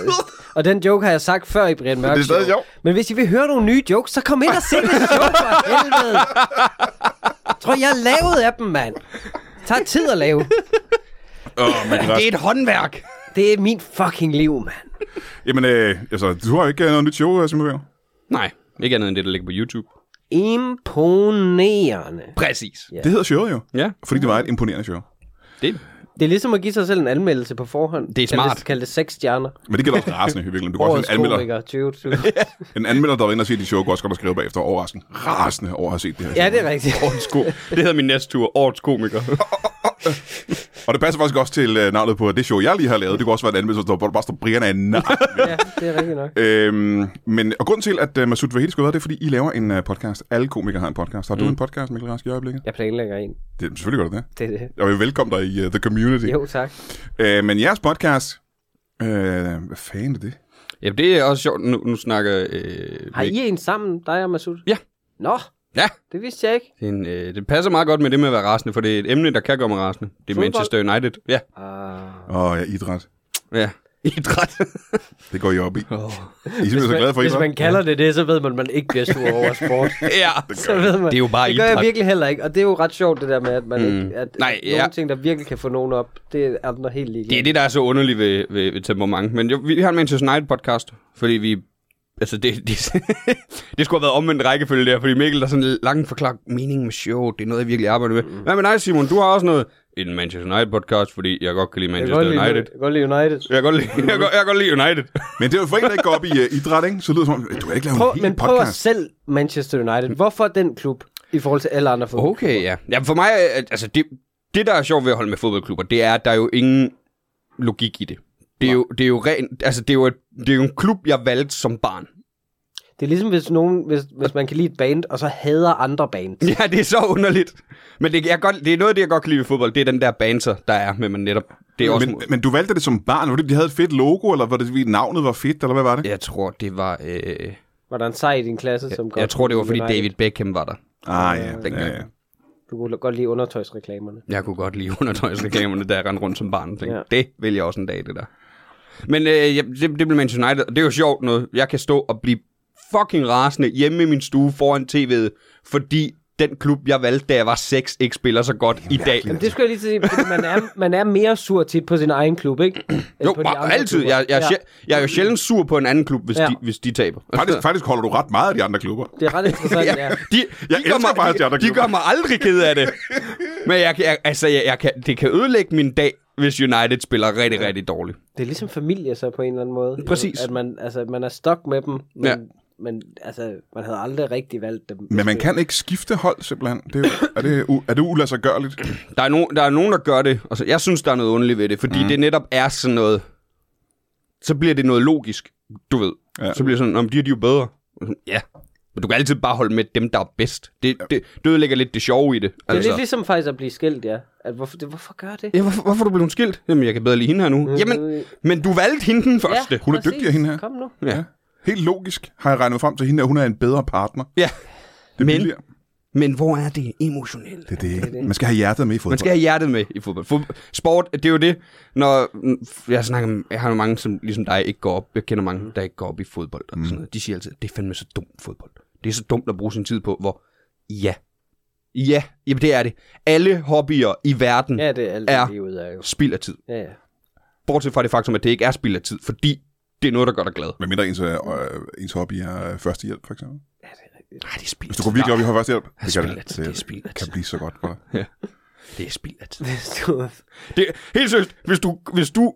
Speaker 2: og den joke har jeg sagt før i Brian Mørk
Speaker 1: det er stadig
Speaker 2: Show.
Speaker 1: sjovt.
Speaker 2: Men hvis I vil høre nogle nye jokes, så kom ind og se det show for helvede. Tror jeg er lavet af dem, mand. Det tager tid at lave.
Speaker 1: Åh, men
Speaker 3: Det
Speaker 1: Rasmus,
Speaker 3: er et håndværk.
Speaker 2: Det er min fucking liv, mand.
Speaker 1: Jamen, øh, altså, du har jo ikke øh, noget nyt show, øh, Simon Væver.
Speaker 3: Nej, ikke andet end det, der ligger på YouTube.
Speaker 2: Imponerende.
Speaker 3: Præcis.
Speaker 2: Ja.
Speaker 1: Det hedder showet jo,
Speaker 3: Ja,
Speaker 1: fordi det var et imponerende show.
Speaker 3: det,
Speaker 2: Det er ligesom at give sig selv en anmeldelse på forhånd.
Speaker 3: Det er
Speaker 2: Kald
Speaker 3: smart.
Speaker 2: det, kald det seks stjerner.
Speaker 1: Men det gælder også rasende, i virkeligheden. Du kan også
Speaker 2: Årets
Speaker 1: en anmelder,
Speaker 2: komiker 2020.
Speaker 1: en anmelder, der var inde og se dit show, kunne også godt have skrevet bagefter overraskende. Rasende over at have set det her show.
Speaker 2: ja, det er rigtigt.
Speaker 3: årets ko- det hedder min næste tur. Årets komiker.
Speaker 1: Og det passer faktisk også til øh, navnet på det show, jeg lige har lavet. Det kunne også være en anmeldelse, hvor der bare står Brian af en nar.
Speaker 2: ja, det er rigtigt nok.
Speaker 1: Øhm, men, og grunden til, at uh, Masud Vahedi skulle have været, det er, fordi I laver en uh, podcast. Alle komikere har en podcast. Har
Speaker 2: Mm.
Speaker 1: du en podcast, Mikkel Rask, i øjeblikket?
Speaker 2: Jeg planlægger en.
Speaker 1: Det, selvfølgelig gør du det.
Speaker 2: Det er det.
Speaker 1: Og velkommen dig i uh, The Community.
Speaker 2: Jo, tak.
Speaker 1: Øh, men jeres podcast... Øh, hvad fanden er det?
Speaker 3: Jamen, det er også sjovt, nu, nu snakker... Øh,
Speaker 2: Har
Speaker 3: med-
Speaker 2: I en sammen, dig og Masud?
Speaker 3: Ja.
Speaker 2: Nå,
Speaker 3: Ja,
Speaker 2: det vidste jeg ikke.
Speaker 3: det, er en, øh, det passer meget godt med det med at være rasende, for det er et emne, der kan gøre mig rasende. Det er
Speaker 2: Fodbold?
Speaker 3: Manchester United. Ja,
Speaker 2: Ah.
Speaker 1: Åh, oh, ja, idræt.
Speaker 3: ja. Idræt.
Speaker 1: Det går I op i. I
Speaker 3: oh.
Speaker 1: er simpelthen så glade for
Speaker 2: Hvis
Speaker 1: idræt.
Speaker 2: man kalder det det, så ved man, at man ikke bliver sur over sport.
Speaker 3: Ja,
Speaker 2: så ved man.
Speaker 3: Det er jo bare
Speaker 2: det gør jeg
Speaker 3: idræt.
Speaker 2: virkelig heller ikke, og det er jo ret sjovt det der med, at man
Speaker 3: Mm.
Speaker 2: ikke, at
Speaker 3: Nej,
Speaker 2: Nej, nogle
Speaker 3: ja.
Speaker 2: ting, der virkelig kan få nogen op, det er andre helt ligeglade.
Speaker 3: det er det, der er så underligt ved, ved, ved temperament. Men jo, vi har en Manchester United-podcast, fordi vi... Altså, det, det, det skulle have været omvendt rækkefølge der, fordi Mikkel der sådan langt forklarer meningen med show, det er noget, jeg virkelig arbejder med.
Speaker 2: Mm.
Speaker 3: Hvad med dig, Simon? Du har også noget en Manchester United-podcast, fordi jeg godt kan lide
Speaker 2: jeg kan
Speaker 3: Manchester
Speaker 2: godt lide,
Speaker 3: United.
Speaker 2: jeg kan godt lide United.
Speaker 3: Jeg kan godt lide, jeg kan, godt- jeg kan godt lide United.
Speaker 1: Men det er jo for en, der ikke går op i uh, idræt, ikke? Så lyder det som om, du har ikke lavet
Speaker 2: Prøv,
Speaker 1: en hel
Speaker 2: men prøv at
Speaker 1: podcast.
Speaker 2: selv Manchester United. Hvorfor den klub i forhold til alle andre fodbold?
Speaker 3: Mm. Okay, ja. ja for mig, øh, altså det, det, der er sjovt ved at holde med fodboldklubber, det er, at der er jo ingen logik i det. Det er, jo, det er jo rent, altså det er jo, et, det er jo en klub, jeg valgte som barn.
Speaker 2: Det er ligesom, hvis, nogen, hvis, hvis man kan lide et band, og så hader andre bands.
Speaker 3: Ja, det er så underligt. Men det, jeg godt, det er noget af det, jeg godt kan lide ved fodbold, det er den der banser, der er med man netop. Det er også,
Speaker 1: Men, men du valgte det som barn, var det, fordi de havde et fedt logo, eller var det, fordi navnet var fedt, eller hvad var det?
Speaker 3: jeg tror, det var, øh,
Speaker 2: Var der en sej i din klasse, som godt
Speaker 3: jeg tror, det var,
Speaker 2: kunne
Speaker 3: fordi
Speaker 2: lide United?
Speaker 3: David Beckham var der.
Speaker 1: Ah, ja.
Speaker 3: dengang.
Speaker 1: ja, ja.
Speaker 2: Du kunne godt lide undertøjsreklamerne.
Speaker 3: Jeg kunne godt lide undertøjsreklamerne, da jeg rendte rundt som barn. Tænkte,
Speaker 2: Ja.
Speaker 3: ja. Det vil jeg også en dag, det der. Men øh, jeg, det, det blev Manchester United, og det er jo sjovt noget. Jeg kan stå og blive fucking rasende hjemme i min stue foran tv'et, fordi den klub, jeg valgte, da jeg var 6, ikke spiller så godt i dag.
Speaker 2: Jamen, det skulle jeg lige til at sige, fordi man er, man er mere sur tit på sin egen klub, ikke? End
Speaker 3: Jo,
Speaker 2: på de
Speaker 3: bare,
Speaker 2: andre
Speaker 3: altid.
Speaker 2: klubber.
Speaker 3: Jeg, jeg, er
Speaker 2: ja.
Speaker 3: sje- jeg er jo sjældent sur på en anden klub, hvis,
Speaker 2: Ja.
Speaker 3: ja. de, hvis de taber.
Speaker 1: Faktisk, faktisk holder du ret meget af de andre klubber.
Speaker 2: Det er ret interessant, ja.
Speaker 3: Ja, de,
Speaker 1: Jeg
Speaker 3: de, gør
Speaker 1: elsker
Speaker 3: mig,
Speaker 1: faktisk de andre
Speaker 3: de, de
Speaker 1: klubber.
Speaker 3: gør mig aldrig ked af det. Men jeg, kan- jeg, altså, jeg, jeg kan, det kan ødelægge min dag, hvis United spiller rigtig, rigtig dårligt.
Speaker 2: Det er ligesom familie så på en eller anden måde.
Speaker 3: Præcis.
Speaker 2: At man, altså, man er stok med dem, men,
Speaker 3: Ja.
Speaker 2: ja. men altså, man havde aldrig rigtig valgt dem.
Speaker 1: Men man kan ikke skifte hold, simpelthen. Det er, jo, er det, u- er det ulassergørligt?
Speaker 3: Der er, nogen, der er nogen, der gør det. Altså, jeg synes, der er noget underligt ved det, fordi
Speaker 1: Mhm.
Speaker 3: mm. det netop er sådan noget... Så bliver det noget logisk, du ved.
Speaker 1: Ja.
Speaker 3: Ja. Så bliver det sådan, om de er de er jo bedre. Ja, men du kan altid bare holde med dem, der er bedst. Det, det, det ødelægger lidt det sjove i det.
Speaker 2: Det er altså. lidt ligesom faktisk at blive skilt, ja. At hvorfor, det, hvorfor gør det?
Speaker 3: Ja, hvorfor, hvorfor er du blevet skilt? Jamen, jeg kan bedre lide hende her nu. Mm. Jamen, men du valgte hende den første.
Speaker 1: Hun er
Speaker 2: præcis.
Speaker 1: dygtigere, hende her.
Speaker 2: Kom nu.
Speaker 3: Ja.
Speaker 1: Helt logisk har jeg regnet frem til hende, at hun er en bedre partner.
Speaker 3: ja.
Speaker 1: Det er
Speaker 3: Men-
Speaker 1: billigere.
Speaker 3: Men hvor er det emotionelt?
Speaker 1: Det er det. Man skal have hjertet med i fodbold.
Speaker 3: Man skal have hjertet med i fodbold. Fod- sport, det er jo det, når mm, jeg snakker med, jeg har jo mange, som ligesom dig ikke går op, jeg kender mange, der ikke går op i fodbold og
Speaker 1: Mm.
Speaker 3: sådan noget. De siger altid, det er fandme så dumt fodbold. Det er så dumt at bruge sin tid på, hvor ja, ja, jamen det er det. Alle hobbyer i verden
Speaker 2: Ja,
Speaker 3: ja.
Speaker 2: det er alt,
Speaker 3: Ja.
Speaker 2: ja. livet er jo.
Speaker 3: spild af tid.
Speaker 2: Ja, ja.
Speaker 3: Bortset fra det faktum, at det ikke er spild af tid, fordi det er noget, der gør dig glad.
Speaker 1: Hvad mindre ens, øh, øh, ens hobby er øh, førstehjælp, for eksempel.
Speaker 3: Nej, det er spild
Speaker 1: Hvis du går virkelig op i at holde førstehjælp, det,
Speaker 3: spild
Speaker 1: kan,
Speaker 3: af tid, det er spild af
Speaker 1: det kan
Speaker 3: tid.
Speaker 1: blive så godt for dig.
Speaker 3: Det er spild af tid.
Speaker 2: Det
Speaker 3: Det, helt seriøst, hvis du, hvis du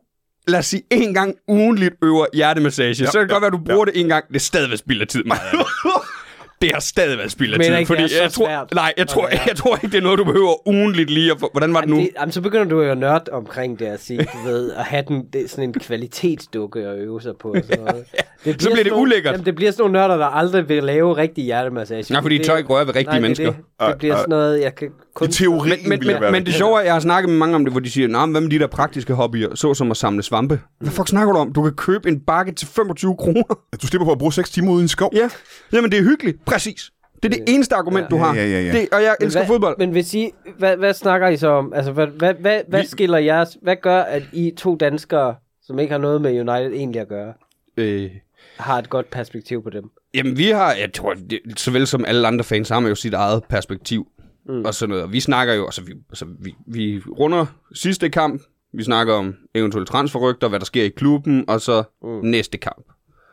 Speaker 3: lad os sige, en gang ugenligt øver hjertemassage, ja, så kan det
Speaker 1: ja,
Speaker 3: godt være, at du bruger det en gang. Det er stadigvæk spild af tid, meget af det. Det har stadig været spild af
Speaker 2: Men
Speaker 3: tid,
Speaker 2: ikke,
Speaker 3: fordi
Speaker 2: det er så
Speaker 3: jeg tror,
Speaker 2: svært
Speaker 3: nej, jeg
Speaker 2: at
Speaker 3: tror, jeg,
Speaker 2: lære.
Speaker 3: tror ikke, det er noget, du behøver ugenligt lige at få. Hvordan var det nu?
Speaker 2: det, jamen, så begynder du jo at nørde omkring det at sige, du ved, at have den, det er sådan en kvalitetsdukke at øve sig på. Og sådan noget. Det bliver
Speaker 3: bliver det
Speaker 2: sådan nogle-
Speaker 3: ulækkert.
Speaker 2: Jamen, det bliver sådan nogle nørder, der aldrig vil lave rigtig hjertemassage.
Speaker 3: Nej, fordi de
Speaker 2: det,
Speaker 3: tør ikke røre ved rigtige
Speaker 2: nej, det er
Speaker 3: mennesker.
Speaker 2: Det, det bliver sådan noget, jeg kan kun...
Speaker 1: I teorien
Speaker 3: Men, men,
Speaker 1: ville
Speaker 3: men,
Speaker 1: være
Speaker 3: men det sjove er, at jeg har snakket med mange om det, hvor de siger, nej, men hvad med de der praktiske hobbyer, såsom at samle svampe? Hvad fuck snakker du om? Du kan købe en bakke til 25 kroner.
Speaker 1: At du slipper for at bruge 6 timer ude i en skov.
Speaker 3: Ja, jamen det er hyggeligt. Præcis. Det er det eneste argument, du
Speaker 1: Ja,
Speaker 3: har.
Speaker 1: ja, ja, ja.
Speaker 3: Det, og jeg
Speaker 2: Men
Speaker 3: elsker
Speaker 2: hvad,
Speaker 3: fodbold.
Speaker 2: Men hvis I, hvad, hvad snakker I så om? Altså, hvad, hvad, hvad, hvad
Speaker 3: Vi-
Speaker 2: skiller jeres... Hvad gør, at I to danskere, som ikke har noget med United egentlig at gøre,
Speaker 3: Øh,
Speaker 2: har et godt perspektiv på dem?
Speaker 3: Jamen, vi har, jeg tror, det, såvel som alle andre fans, har man jo sit eget perspektiv mm. og sådan noget. Og vi snakker jo, altså vi, altså, vi, vi runder sidste kamp, vi snakker om eventuelle transferrygter, hvad der sker i klubben, og så mm. næste kamp.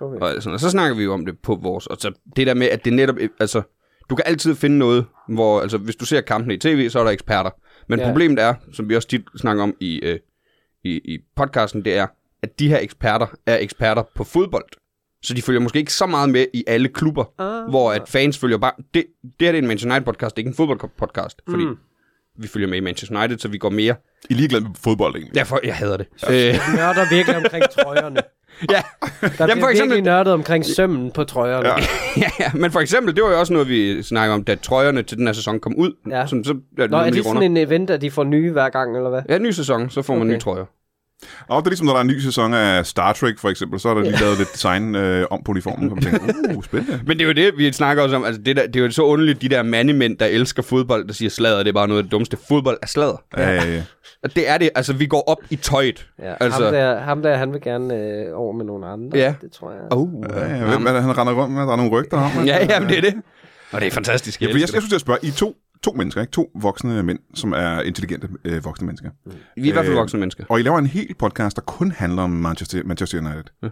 Speaker 2: Okay.
Speaker 3: Og, alt sådan, og så snakker vi jo om det på vores, og så det der med, at det netop, altså, du kan altid finde noget, hvor, altså, hvis du ser kampene i tv, så er der eksperter. Men
Speaker 2: Ja.
Speaker 3: ja. problemet er, som vi også tit snakker om i, øh, i, i podcasten, det er, at de her eksperter er eksperter på fodbold. Så de følger måske ikke så meget med i alle klubber,
Speaker 2: Ah.
Speaker 3: hvor at fans følger bare... Det, det her det er en Manchester United-podcast, det er ikke en fodboldpodcast, fordi mm. vi følger med i Manchester United, så vi går mere.
Speaker 1: I er ligeglade med fodbold, egentlig.
Speaker 3: Derfor, jeg hader det. Øh,
Speaker 2: Nørder virkelig omkring trøjerne.
Speaker 3: ja.
Speaker 2: Der
Speaker 3: Jamen,
Speaker 2: Jamen,
Speaker 3: for
Speaker 2: bliver
Speaker 3: eksempel-
Speaker 2: virkelig nørdet omkring sømmen på trøjerne. Ja.
Speaker 3: ja, ja, men for eksempel, det var jo også noget, vi snakkede om, da trøjerne til den her sæson kom ud.
Speaker 2: Ja.
Speaker 3: Som, så, ja,
Speaker 2: Nå, er det
Speaker 3: runder.
Speaker 2: sådan en event, at de får nye hver gang, eller hvad?
Speaker 3: Ja, ny sæson, så får man okay.
Speaker 2: Okay.
Speaker 3: nye trøjer.
Speaker 1: Og det er ligesom, når der er en ny sæson af Star Trek, for eksempel, så er der lige lavet lidt design øh, om på uniformen. Så man tænker, uh, spændende.
Speaker 3: Men det er jo det, vi snakker også om. Altså, det, der, det er jo så underligt, de der mandemænd, der elsker fodbold, der siger sladder, det er bare noget af det dummeste. Fodbold er sladder.
Speaker 1: Ja, ja, ja.
Speaker 3: Og det er det. Altså, vi går op i tøjet.
Speaker 2: Ja, altså... ham,
Speaker 3: altså,
Speaker 2: der, ham der, han vil gerne øh, over med nogle andre.
Speaker 3: Ja.
Speaker 2: Det tror jeg.
Speaker 3: oh,
Speaker 1: ja, ja. Hvem er det, han render rundt med? Der er nogle rygter om. ikke?
Speaker 3: ja, ja, men det er det. Og det er fantastisk.
Speaker 1: Ja, for jeg, jeg
Speaker 3: elsker
Speaker 1: synes, jeg at spørge, I er to, to mennesker, ikke? To voksne mænd, som er intelligente øh, voksne mennesker.
Speaker 3: det. Vi er i hvert fald
Speaker 1: Øh,
Speaker 3: voksne mennesker.
Speaker 1: Og I laver en hel podcast, der kun handler om Manchester, Manchester United. Ja.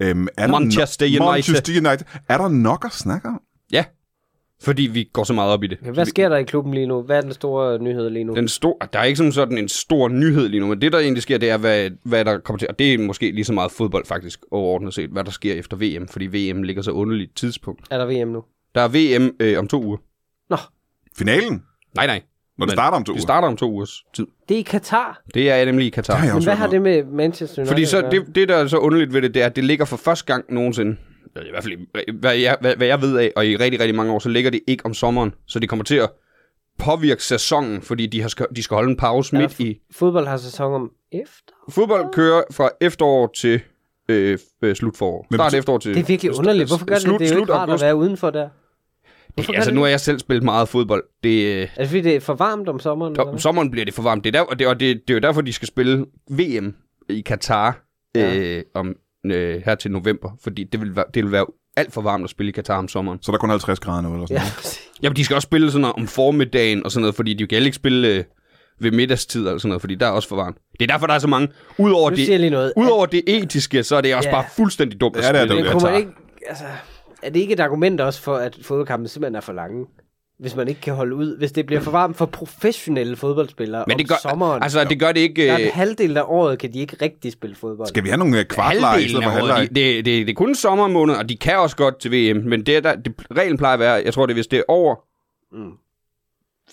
Speaker 1: Øhm, er der
Speaker 3: Manchester
Speaker 1: no-
Speaker 3: United.
Speaker 1: Manchester United. Er der nok at snakke om?
Speaker 3: Ja, fordi vi går så meget op i det.
Speaker 2: Hvad sker der i klubben lige nu? Hvad er den store nyhed lige nu?
Speaker 3: Den stor, der er ikke som sådan en stor nyhed lige nu, men det der egentlig sker, det er, hvad, hvad der kommer til. Og det er måske lige så meget fodbold faktisk, overordnet set, hvad der sker efter VM, fordi VM ligger så underligt tidspunkt.
Speaker 2: Er der VM nu?
Speaker 3: Der er VM øh, om to uger.
Speaker 2: Nå,
Speaker 1: Finalen,
Speaker 3: Nej, nej.
Speaker 1: når det
Speaker 3: Men
Speaker 1: starter om to
Speaker 3: Det
Speaker 1: uger.
Speaker 3: starter om to ugers tid.
Speaker 2: det er i Katar.
Speaker 3: Det er nemlig i Katar.
Speaker 1: Det har jeg
Speaker 2: Men
Speaker 1: også
Speaker 2: hvad
Speaker 1: hørt
Speaker 2: har
Speaker 1: noget.
Speaker 2: det med Manchester United?
Speaker 3: Fordi så,
Speaker 2: at gøre?
Speaker 3: det, det, der er så underligt ved det, det er, at det ligger for første gang nogensinde, eller i hvert fald, i- hvad jeg, hvad, hvad jeg ved af, og i rigtig, rigtig mange år, så ligger det ikke om sommeren. Så det kommer til at påvirke sæsonen, fordi de, har skal, de skal holde en pause
Speaker 2: Er der
Speaker 3: midt i.
Speaker 2: Fodbold har sæson om efter.
Speaker 3: Fodbold kører fra efterår til øh, øh, slutforår.
Speaker 1: Men
Speaker 3: Start
Speaker 1: betyder-
Speaker 3: efterår til...
Speaker 2: Det er virkelig underligt. Hvorfor gør det
Speaker 3: Øh,
Speaker 2: det?
Speaker 3: slut-
Speaker 2: Det er jo
Speaker 3: slut
Speaker 2: ikke rart at
Speaker 3: august.
Speaker 2: være udenfor der. Hvorfor
Speaker 3: det,
Speaker 2: gør
Speaker 3: altså,
Speaker 2: det
Speaker 3: nu
Speaker 2: det?
Speaker 3: har jeg selv spillet meget fodbold. Det, øh,
Speaker 2: Er det fordi, det er for varmt om sommeren? eller
Speaker 3: der, om
Speaker 2: hvad?
Speaker 3: sommeren bliver det for varmt. Det er, der, og det, og det, det er jo derfor, de skal spille VM i Katar
Speaker 2: Ja.
Speaker 3: øh, om, øh, her til november. Fordi det vil, være, det vil være alt for varmt at spille i Katar om sommeren.
Speaker 1: Så er der kun 50 grader nu, eller sådan
Speaker 2: Ja,
Speaker 1: noget.
Speaker 2: præcis.
Speaker 3: Jamen, de skal også spille sådan noget om formiddagen og sådan noget, fordi de kan heller ikke spille øh, ved middagstid eller sådan noget, fordi der er også for varmt. Det er derfor, der er så mange. Udover,
Speaker 2: nu siger jeg
Speaker 3: det,
Speaker 2: lige noget.
Speaker 3: udover det etiske, så er det også
Speaker 2: Ja.
Speaker 3: bare fuldstændig dumt at
Speaker 1: Ja, det er
Speaker 3: spille
Speaker 1: dumt,
Speaker 3: i
Speaker 2: Men kunne
Speaker 3: Katar.
Speaker 2: man ikke, altså, er det ikke et argument også for, at fodboldkampen simpelthen er for lange? Hvis man ikke kan holde ud. Hvis det bliver for varmt for professionelle fodboldspillere
Speaker 3: Men det gør,
Speaker 2: om sommeren. Altså,
Speaker 3: altså, det gør det ikke...
Speaker 2: der er
Speaker 3: øh,
Speaker 2: en halvdel af året, kan de ikke rigtig spille fodbold.
Speaker 1: Skal vi have nogle øh, kvartleje i
Speaker 3: halvdelen
Speaker 1: stedet for
Speaker 3: af
Speaker 1: halvleje?
Speaker 3: året. De- Det, det, det, er kun sommermåneder, og de kan også godt til VM, men det, er der, det reglen plejer at være, jeg tror, det er, hvis det er over
Speaker 2: Mm.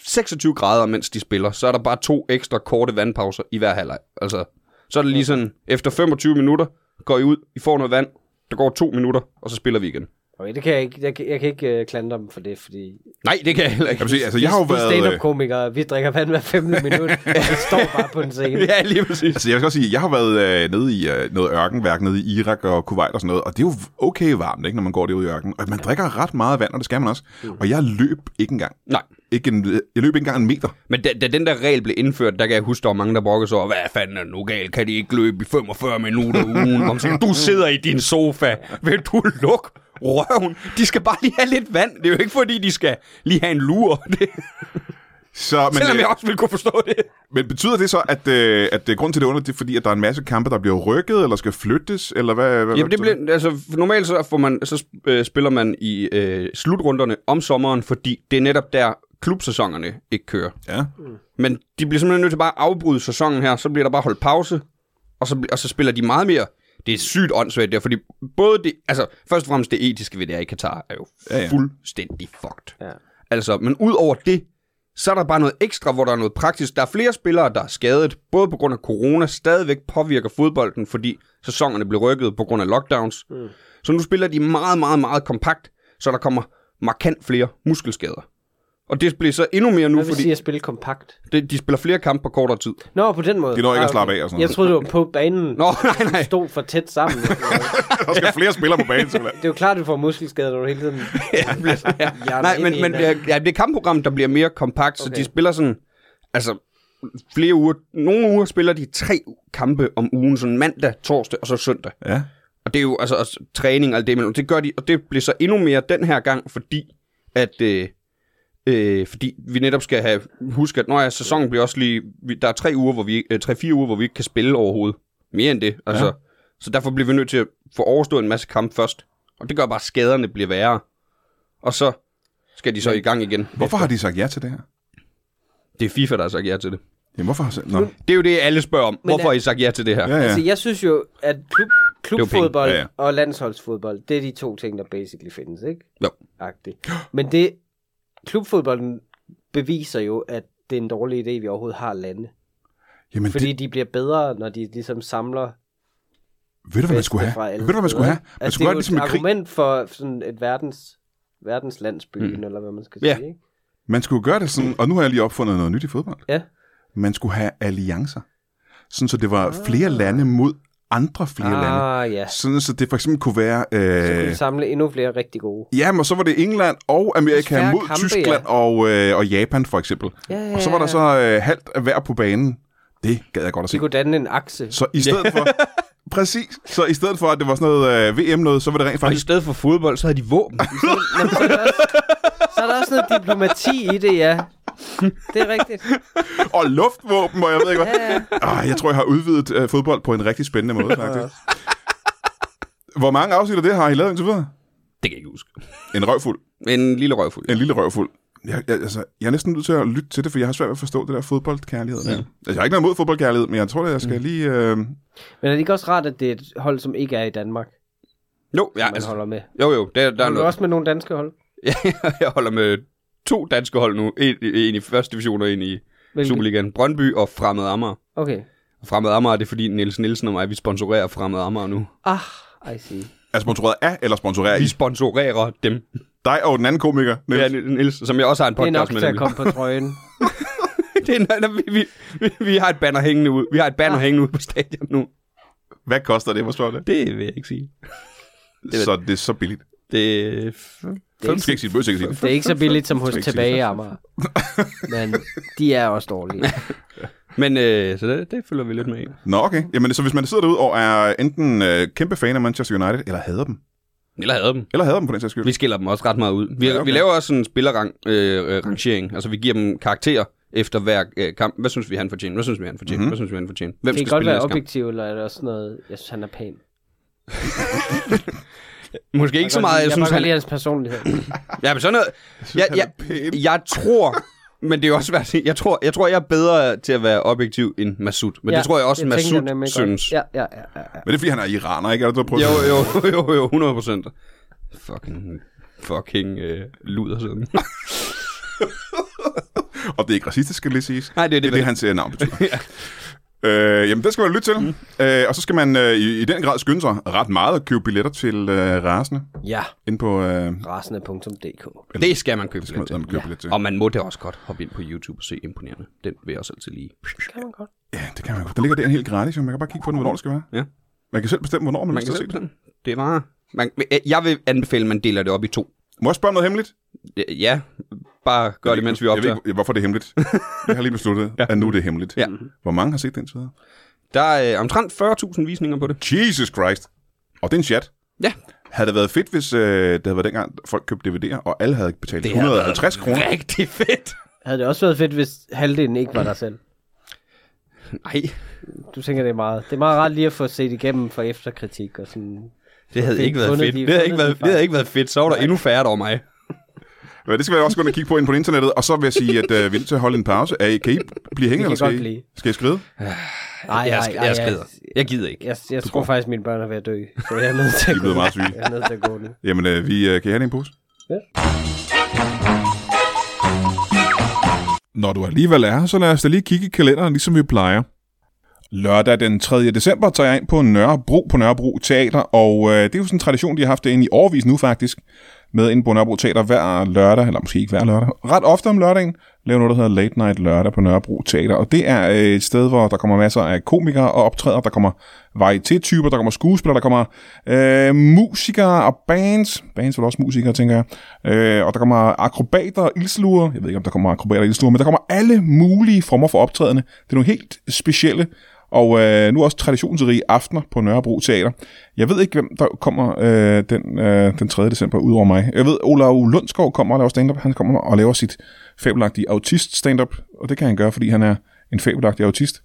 Speaker 3: 26 grader, mens de spiller, så er der bare to ekstra korte vandpauser i hver halvleg. Altså, så er det lige sådan, efter 25 minutter går I ud, I får noget vand, der går to minutter, og så spiller vi igen.
Speaker 2: Okay, det kan jeg ikke. Jeg, kan- jeg kan ikke uh, klandre dem for det, fordi...
Speaker 3: Nej, det kan jeg heller ikke.
Speaker 1: Jeg vil sige, altså, jeg har jo
Speaker 2: vi
Speaker 1: været... øh,
Speaker 2: stand-up-komikere, vi drikker vand hver femte minut, og vi står bare på en scene.
Speaker 3: Ja, lige præcis.
Speaker 1: Altså, jeg skal også sige, jeg har været øh, nede i øh, noget ørkenværk nede i Irak og Kuwait og sådan noget, og det er jo okay varmt, ikke, når man går derude i ørkenen. Og man drikker ret meget vand, og det skal man også.
Speaker 2: Mm.
Speaker 1: Og jeg løb ikke engang.
Speaker 3: Nej.
Speaker 1: Ikke en, jeg løb ikke engang en meter.
Speaker 3: Men da, da den der regel blev indført, der kan jeg huske, der var mange, der brokkede sig over, hvad fanden er det nu galt? Kan de ikke løbe i 45 minutter ugen? Om sådan, du sidder i din sofa. Vil du lukke røven? De skal bare lige have lidt vand. Det er jo ikke, fordi de skal lige have en lur. Det,
Speaker 1: Så, men,
Speaker 3: selvom
Speaker 1: øh,
Speaker 3: jeg også vil kunne forstå det.
Speaker 1: men betyder det så, at, øh, at øh, grunden til det er underligt, det er fordi, at der er en masse kampe, der bliver rykket, eller skal flyttes, eller hvad? hvad- hvad
Speaker 3: Jamen, det
Speaker 1: betyder
Speaker 3: bliver, altså, normalt så, får man, så øh, spiller man i øh, slutrunderne om sommeren, fordi det er netop der, klubsæsonerne ikke kører.
Speaker 1: Ja.
Speaker 3: Men de bliver simpelthen nødt til bare at afbryde sæsonen her, så bliver der bare holdt pause, og så, og så spiller de meget mere. Det er sygt åndssvagt der, fordi både det, altså først og fremmest det etiske ved det her i Katar er jo
Speaker 1: Ja,
Speaker 3: ja,
Speaker 1: ja.
Speaker 3: ja. fuldstændig fucked.
Speaker 2: Ja.
Speaker 3: Altså, men ud over det, så er der bare noget ekstra, hvor der er noget praktisk. Der er flere spillere, der er skadet, både på grund af corona, stadigvæk påvirker fodbolden, fordi sæsonerne blev rykket på grund af lockdowns. Mm. Så nu spiller de meget, meget, meget kompakt, så der kommer markant flere muskelskader. Og det bliver så endnu mere nu,
Speaker 2: Hvad vil
Speaker 3: fordi...
Speaker 2: sige at spille kompakt?
Speaker 3: Det, de spiller flere kampe på kortere tid.
Speaker 2: Nå, på den måde.
Speaker 1: De når ikke
Speaker 2: Ah,
Speaker 1: at slappe
Speaker 2: okay.
Speaker 1: af og sådan
Speaker 2: Jeg
Speaker 1: noget.
Speaker 2: troede, det var på banen.
Speaker 3: Nå, nej, nej.
Speaker 2: stod for tæt sammen.
Speaker 1: Der skal flere spillere på banen, simpelthen.
Speaker 2: det er jo klart, at du får muskelskader, når du hele tiden...
Speaker 3: Ja, nej, men, men det, er- ja, det er kampprogram, der bliver mere kompakt, så
Speaker 2: Okay.
Speaker 3: de spiller sådan, altså flere uger. Nogle uger spiller de tre kampe om ugen, sådan mandag, torsdag og så søndag.
Speaker 1: Ja.
Speaker 3: Og det er jo altså også træning og alt det imellem. Det gør de, og det bliver så endnu mere den her gang, fordi at... Øh, Øh, fordi vi netop skal have huske, at når ja, sæsonen bliver også lige... Vi, der er tre uger, hvor vi, øh, tre, fire uger, hvor vi ikke kan spille overhovedet. Mere end det. Altså,
Speaker 1: Ja.
Speaker 3: ja. Så derfor bliver vi nødt til at få overstået en masse kamp først. Og det gør bare, at skaderne bliver værre. Og så skal de så i gang igen.
Speaker 1: Hvorfor har de sagt ja til det her?
Speaker 3: Det er FIFA, der har sagt ja til det.
Speaker 1: Jamen, hvorfor har Nå.
Speaker 3: Det er jo det, alle spørger om. Hvorfor
Speaker 2: er-
Speaker 3: har I sagt ja til det her?
Speaker 1: Ja,
Speaker 3: Ja.
Speaker 1: ja.
Speaker 2: Altså, jeg synes jo, at klub, klubfodbold
Speaker 1: penge. Ja,
Speaker 2: ja,
Speaker 1: ja.
Speaker 2: ja. og landsholdsfodbold, det er de to ting, der basically findes, ikke?
Speaker 3: Jo.
Speaker 2: Agtigt. Men det, klubfodbolden beviser jo, at det er en dårlig idé, vi overhovedet har lande.
Speaker 1: Jamen,
Speaker 2: Fordi
Speaker 1: det,
Speaker 2: det... de bliver bedre, når de ligesom samler
Speaker 1: ved du, hvad man
Speaker 2: bedste
Speaker 1: skulle
Speaker 2: fra
Speaker 1: have?
Speaker 2: alle
Speaker 1: Ved du, hvad man skulle
Speaker 2: steder.
Speaker 1: have? Man skulle gøre det
Speaker 2: Altså,
Speaker 1: ligesom
Speaker 2: det er jo
Speaker 1: i
Speaker 2: et
Speaker 1: krig.
Speaker 2: argument for sådan et verdens, verdens landsbyen, mm. eller hvad man skal
Speaker 3: Ja.
Speaker 2: sige. Ikke?
Speaker 1: Man skulle gøre det sådan, og nu har jeg lige opfundet noget nyt i fodbold.
Speaker 2: Ja.
Speaker 1: Man skulle have alliancer. Sådan, så det var flere lande mod andre flere ah. lande.
Speaker 2: Ah, ja.
Speaker 1: Sådan, så det for eksempel kunne være...
Speaker 2: Så kunne
Speaker 1: Øh,
Speaker 2: vi samle endnu flere rigtig gode.
Speaker 1: ja, men så var det England og Amerika
Speaker 2: Færre
Speaker 1: mod
Speaker 2: kampe,
Speaker 1: Tyskland
Speaker 2: ja.
Speaker 1: og, øh, og Japan, for eksempel.
Speaker 2: Ja,
Speaker 1: Og så var der så øh, halvt af hver på banen. Det gad jeg godt at
Speaker 2: De
Speaker 1: se.
Speaker 2: kunne danne en akse.
Speaker 1: Så i stedet for... Præcis. Så i stedet for, at det var sådan noget øh, VM-noget, så var det rent
Speaker 3: Og i
Speaker 1: faktisk...
Speaker 3: stedet for fodbold, så havde de våben.
Speaker 2: Nå, men så, er der også, så er der også noget diplomati i det, ja. Det er rigtigt.
Speaker 1: Og luftvåben, og jeg ved ikke hvad.
Speaker 2: Ja, ja.
Speaker 1: Ah, jeg tror, jeg har udvidet øh, fodbold på en rigtig spændende måde, faktisk. Hvor mange afsnit af det har I lavet indtil videre?
Speaker 3: det kan jeg ikke huske.
Speaker 1: En røvfuld.
Speaker 3: En lille røvfuld.
Speaker 1: En lille røvfuld. Jeg, jeg, altså, jeg er næsten nødt til at lytte til det, for jeg har svært ved at forstå det der fodboldkærlighed. Der. Altså, jeg har ikke noget mod fodboldkærlighed, men jeg tror, at jeg
Speaker 2: Mm.
Speaker 1: skal lige... Øh...
Speaker 2: Men er det ikke også rart, at det er et hold, som ikke er i Danmark,
Speaker 3: Jo, ja,
Speaker 2: man altså,
Speaker 3: altså,
Speaker 2: holder med?
Speaker 3: jo, jo, der, der er
Speaker 2: Holder du
Speaker 3: noget.
Speaker 2: også med nogle danske hold?
Speaker 3: Jeg holder med to danske hold nu. En, en i første division og en i
Speaker 2: Hvilke?
Speaker 3: Superligaen. Brøndby og Fremad Amager.
Speaker 2: Okay.
Speaker 3: Og Fremad Amager, det er fordi Niels Nielsen og mig, vi sponsorerer Fremad Amager nu.
Speaker 2: Ah, I see.
Speaker 1: Er sponsoreret af, eller sponsorerer
Speaker 3: Vi
Speaker 1: I
Speaker 3: sponsorerer dem.
Speaker 1: dig og den anden komiker? Niels?
Speaker 3: Ja, Niels, som jeg også har en
Speaker 2: Det er nok
Speaker 3: podcast med.
Speaker 2: til at
Speaker 3: nemlig.
Speaker 2: komme på trøjen.
Speaker 3: det er, nej, vi, vi, vi, vi, har et banner hængende ud. Vi har et
Speaker 2: Ah.
Speaker 3: banner hængende ud på stadion nu.
Speaker 1: Hvad koster det, hvor spørger det?
Speaker 3: Det vil jeg ikke sige. ved-
Speaker 1: Så det er så billigt.
Speaker 3: Det er f-
Speaker 1: Du skal ikke sige, du skal ikke sige.
Speaker 2: Det er ikke så billigt som hos
Speaker 1: Fem, seks,
Speaker 2: tilbage i Amager. Men de er også dårlige.
Speaker 3: Men øh, så det, det følger vi lidt med i.
Speaker 1: Nå, okay. Jamen, så hvis man sidder derude og er enten øh, kæmpe fan af Manchester United, eller hader dem,
Speaker 3: Eller havde dem.
Speaker 1: eller hader dem på den sags skyld,
Speaker 3: Vi skiller dem også ret meget ud.
Speaker 1: Ja,
Speaker 3: Vi, ja,
Speaker 1: okay.
Speaker 3: okay. vi laver også sådan en spillerrangering. Øh, altså, vi giver dem karakterer efter hver øh, kamp. Hvad synes vi, han fortjener? Hvad synes vi, han fortjener?
Speaker 1: Mhm.
Speaker 3: Mm-hmm. Hvad synes vi, han fortjener? Hvem
Speaker 2: Det
Speaker 3: skal
Speaker 2: kan godt
Speaker 3: spille
Speaker 2: være
Speaker 3: næste kamp?
Speaker 2: objektiv, eller er det også noget, jeg synes, han er pæn.
Speaker 3: Måske ikke så
Speaker 2: kan godt
Speaker 3: meget,
Speaker 2: lide-
Speaker 3: jeg synes,
Speaker 2: kan godt
Speaker 3: han...
Speaker 2: lide hans personlighed.
Speaker 3: Ja, men sådan noget... Jeg,
Speaker 1: han er
Speaker 3: jeg, jeg tror... Men det er jo også svært at sige. Jeg tror, jeg tror, jeg er bedre til at være objektiv end Masud. Men ja, det tror jeg også,
Speaker 2: det tænker jeg
Speaker 3: Masud
Speaker 2: nemlig godt.
Speaker 3: synes.
Speaker 2: Ja, ja, ja, ja, ja.
Speaker 1: Men det er, fordi han er iraner, ikke? Er det, du har prøvet
Speaker 3: Jo,
Speaker 1: at sige?
Speaker 3: jo, jo, jo, 100 procent. Fucking, fucking øh, luder sådan.
Speaker 1: Og det er ikke racistisk, skal lige siges.
Speaker 3: Nej, det er det,
Speaker 1: det, er det
Speaker 3: vel.
Speaker 1: hans øh, navn betyder. Øh, jamen, det skal man lytte til.
Speaker 3: Mm.
Speaker 1: Øh, og så skal man øh, i, i den grad skynde sig ret meget at købe billetter til øh, rasende.
Speaker 2: ja.
Speaker 1: Ind på... Øh,
Speaker 2: rasende.dk.
Speaker 3: Det skal man købe
Speaker 1: man,
Speaker 3: billet til.
Speaker 1: man købe ja. billet til.
Speaker 3: Og man må da også godt hoppe ind på YouTube og se imponerende. Den vil jeg også altid lige.
Speaker 2: Kan man godt.
Speaker 1: Ja, det kan man godt. Der ligger der helt gratis, jo. Man kan bare kigge på den, hvornår det skal være.
Speaker 3: Ja.
Speaker 1: Man kan selv bestemme, hvornår man,
Speaker 3: Man
Speaker 1: skal
Speaker 3: kan
Speaker 1: se
Speaker 3: selv
Speaker 1: det.
Speaker 3: bestemme. Det er bare... Man, jeg vil anbefale, at man deler det op i to.
Speaker 1: Må jeg spørge om noget hemmeligt?
Speaker 3: Ja, bare gør det, mens vi
Speaker 1: Jeg
Speaker 3: optager.
Speaker 1: ved ikke, hvorfor det er hemmeligt. Jeg har lige besluttet, ja. at nu er det hemmeligt.
Speaker 3: Ja.
Speaker 1: Hvor mange har set den videre?
Speaker 3: Der er øh, omtrent 40.000 visninger på det.
Speaker 1: Jesus Christ. Og det er en chat.
Speaker 3: Ja.
Speaker 1: Havde det været fedt, hvis øh, det havde været dengang, folk købte DVD'er, og alle havde betalt
Speaker 3: havde været
Speaker 1: 150 kroner?
Speaker 3: Rigtig fedt.
Speaker 2: Havde det også været fedt, hvis halvdelen ikke var der selv?
Speaker 3: Nej,
Speaker 2: Du tænker, det er meget. Det er meget rart lige at få set igennem for efterkritik og sådan.
Speaker 3: det havde
Speaker 2: Fedt.
Speaker 3: ikke været
Speaker 2: Fundet
Speaker 3: fedt.
Speaker 2: de-
Speaker 3: Det havde ikke
Speaker 2: fundet de
Speaker 3: været, det havde ikke været fedt. Så var der endnu færre der over mig.
Speaker 1: Ja, Øh, det skal vi også gå ind og kigge på ind på internettet. Og så vil jeg sige, at øh, vi er nødt til at holde en pause. Er I, kan I blive hængende, eller
Speaker 2: kan
Speaker 1: skal
Speaker 2: godt
Speaker 1: I,
Speaker 2: blive.
Speaker 1: skal I skride?
Speaker 2: Ej,
Speaker 3: jeg,
Speaker 2: ej,
Speaker 3: sk-
Speaker 2: ej,
Speaker 3: jeg
Speaker 2: ej.
Speaker 3: skrider. Jeg gider ikke.
Speaker 2: Jeg, jeg tror faktisk, mine børn er ved at dø, så jeg er nødt til at
Speaker 1: De er blevet meget syge.
Speaker 2: Jeg er nødt til at gå nu.
Speaker 1: Jamen, øh, vi, øh, kan I have det i en pose?
Speaker 2: Ja.
Speaker 1: Når du alligevel er her, så lad os da lige kigge i kalenderen, ligesom vi plejer. Lørdag den 3. december tager jeg ind på Nørrebro på Nørrebro Teater, og øh, det er jo sådan en tradition, de har haft det inde i årvis nu faktisk, med inde på Nørrebro Teater hver lørdag, eller måske ikke hver lørdag, ret ofte om lørdagen, laver noget, der hedder Late Night Lørdag på Nørrebro Teater, og det er øh, et sted, hvor der kommer masser af komikere og optræder, der kommer varieté-typer, der kommer skuespillere, der kommer øh, musikere og bands, bands er vel også musikere, tænker jeg, øh, og der kommer akrobater og ildsluer, jeg ved ikke, om der kommer akrobater og ildsluer, men der kommer alle mulige former for optrædende, det er nogle helt specielle, og øh, nu også traditionsrige aftener på Nørrebro Teater. Jeg ved ikke, hvem der kommer øh, den, øh, den 3. december ud over mig. Jeg ved, Olav Lundskov kommer og laver stand-up. Han kommer og laver sit fabelagtige autist-stand-up, og det kan han gøre, fordi han er en fabelagtig autist.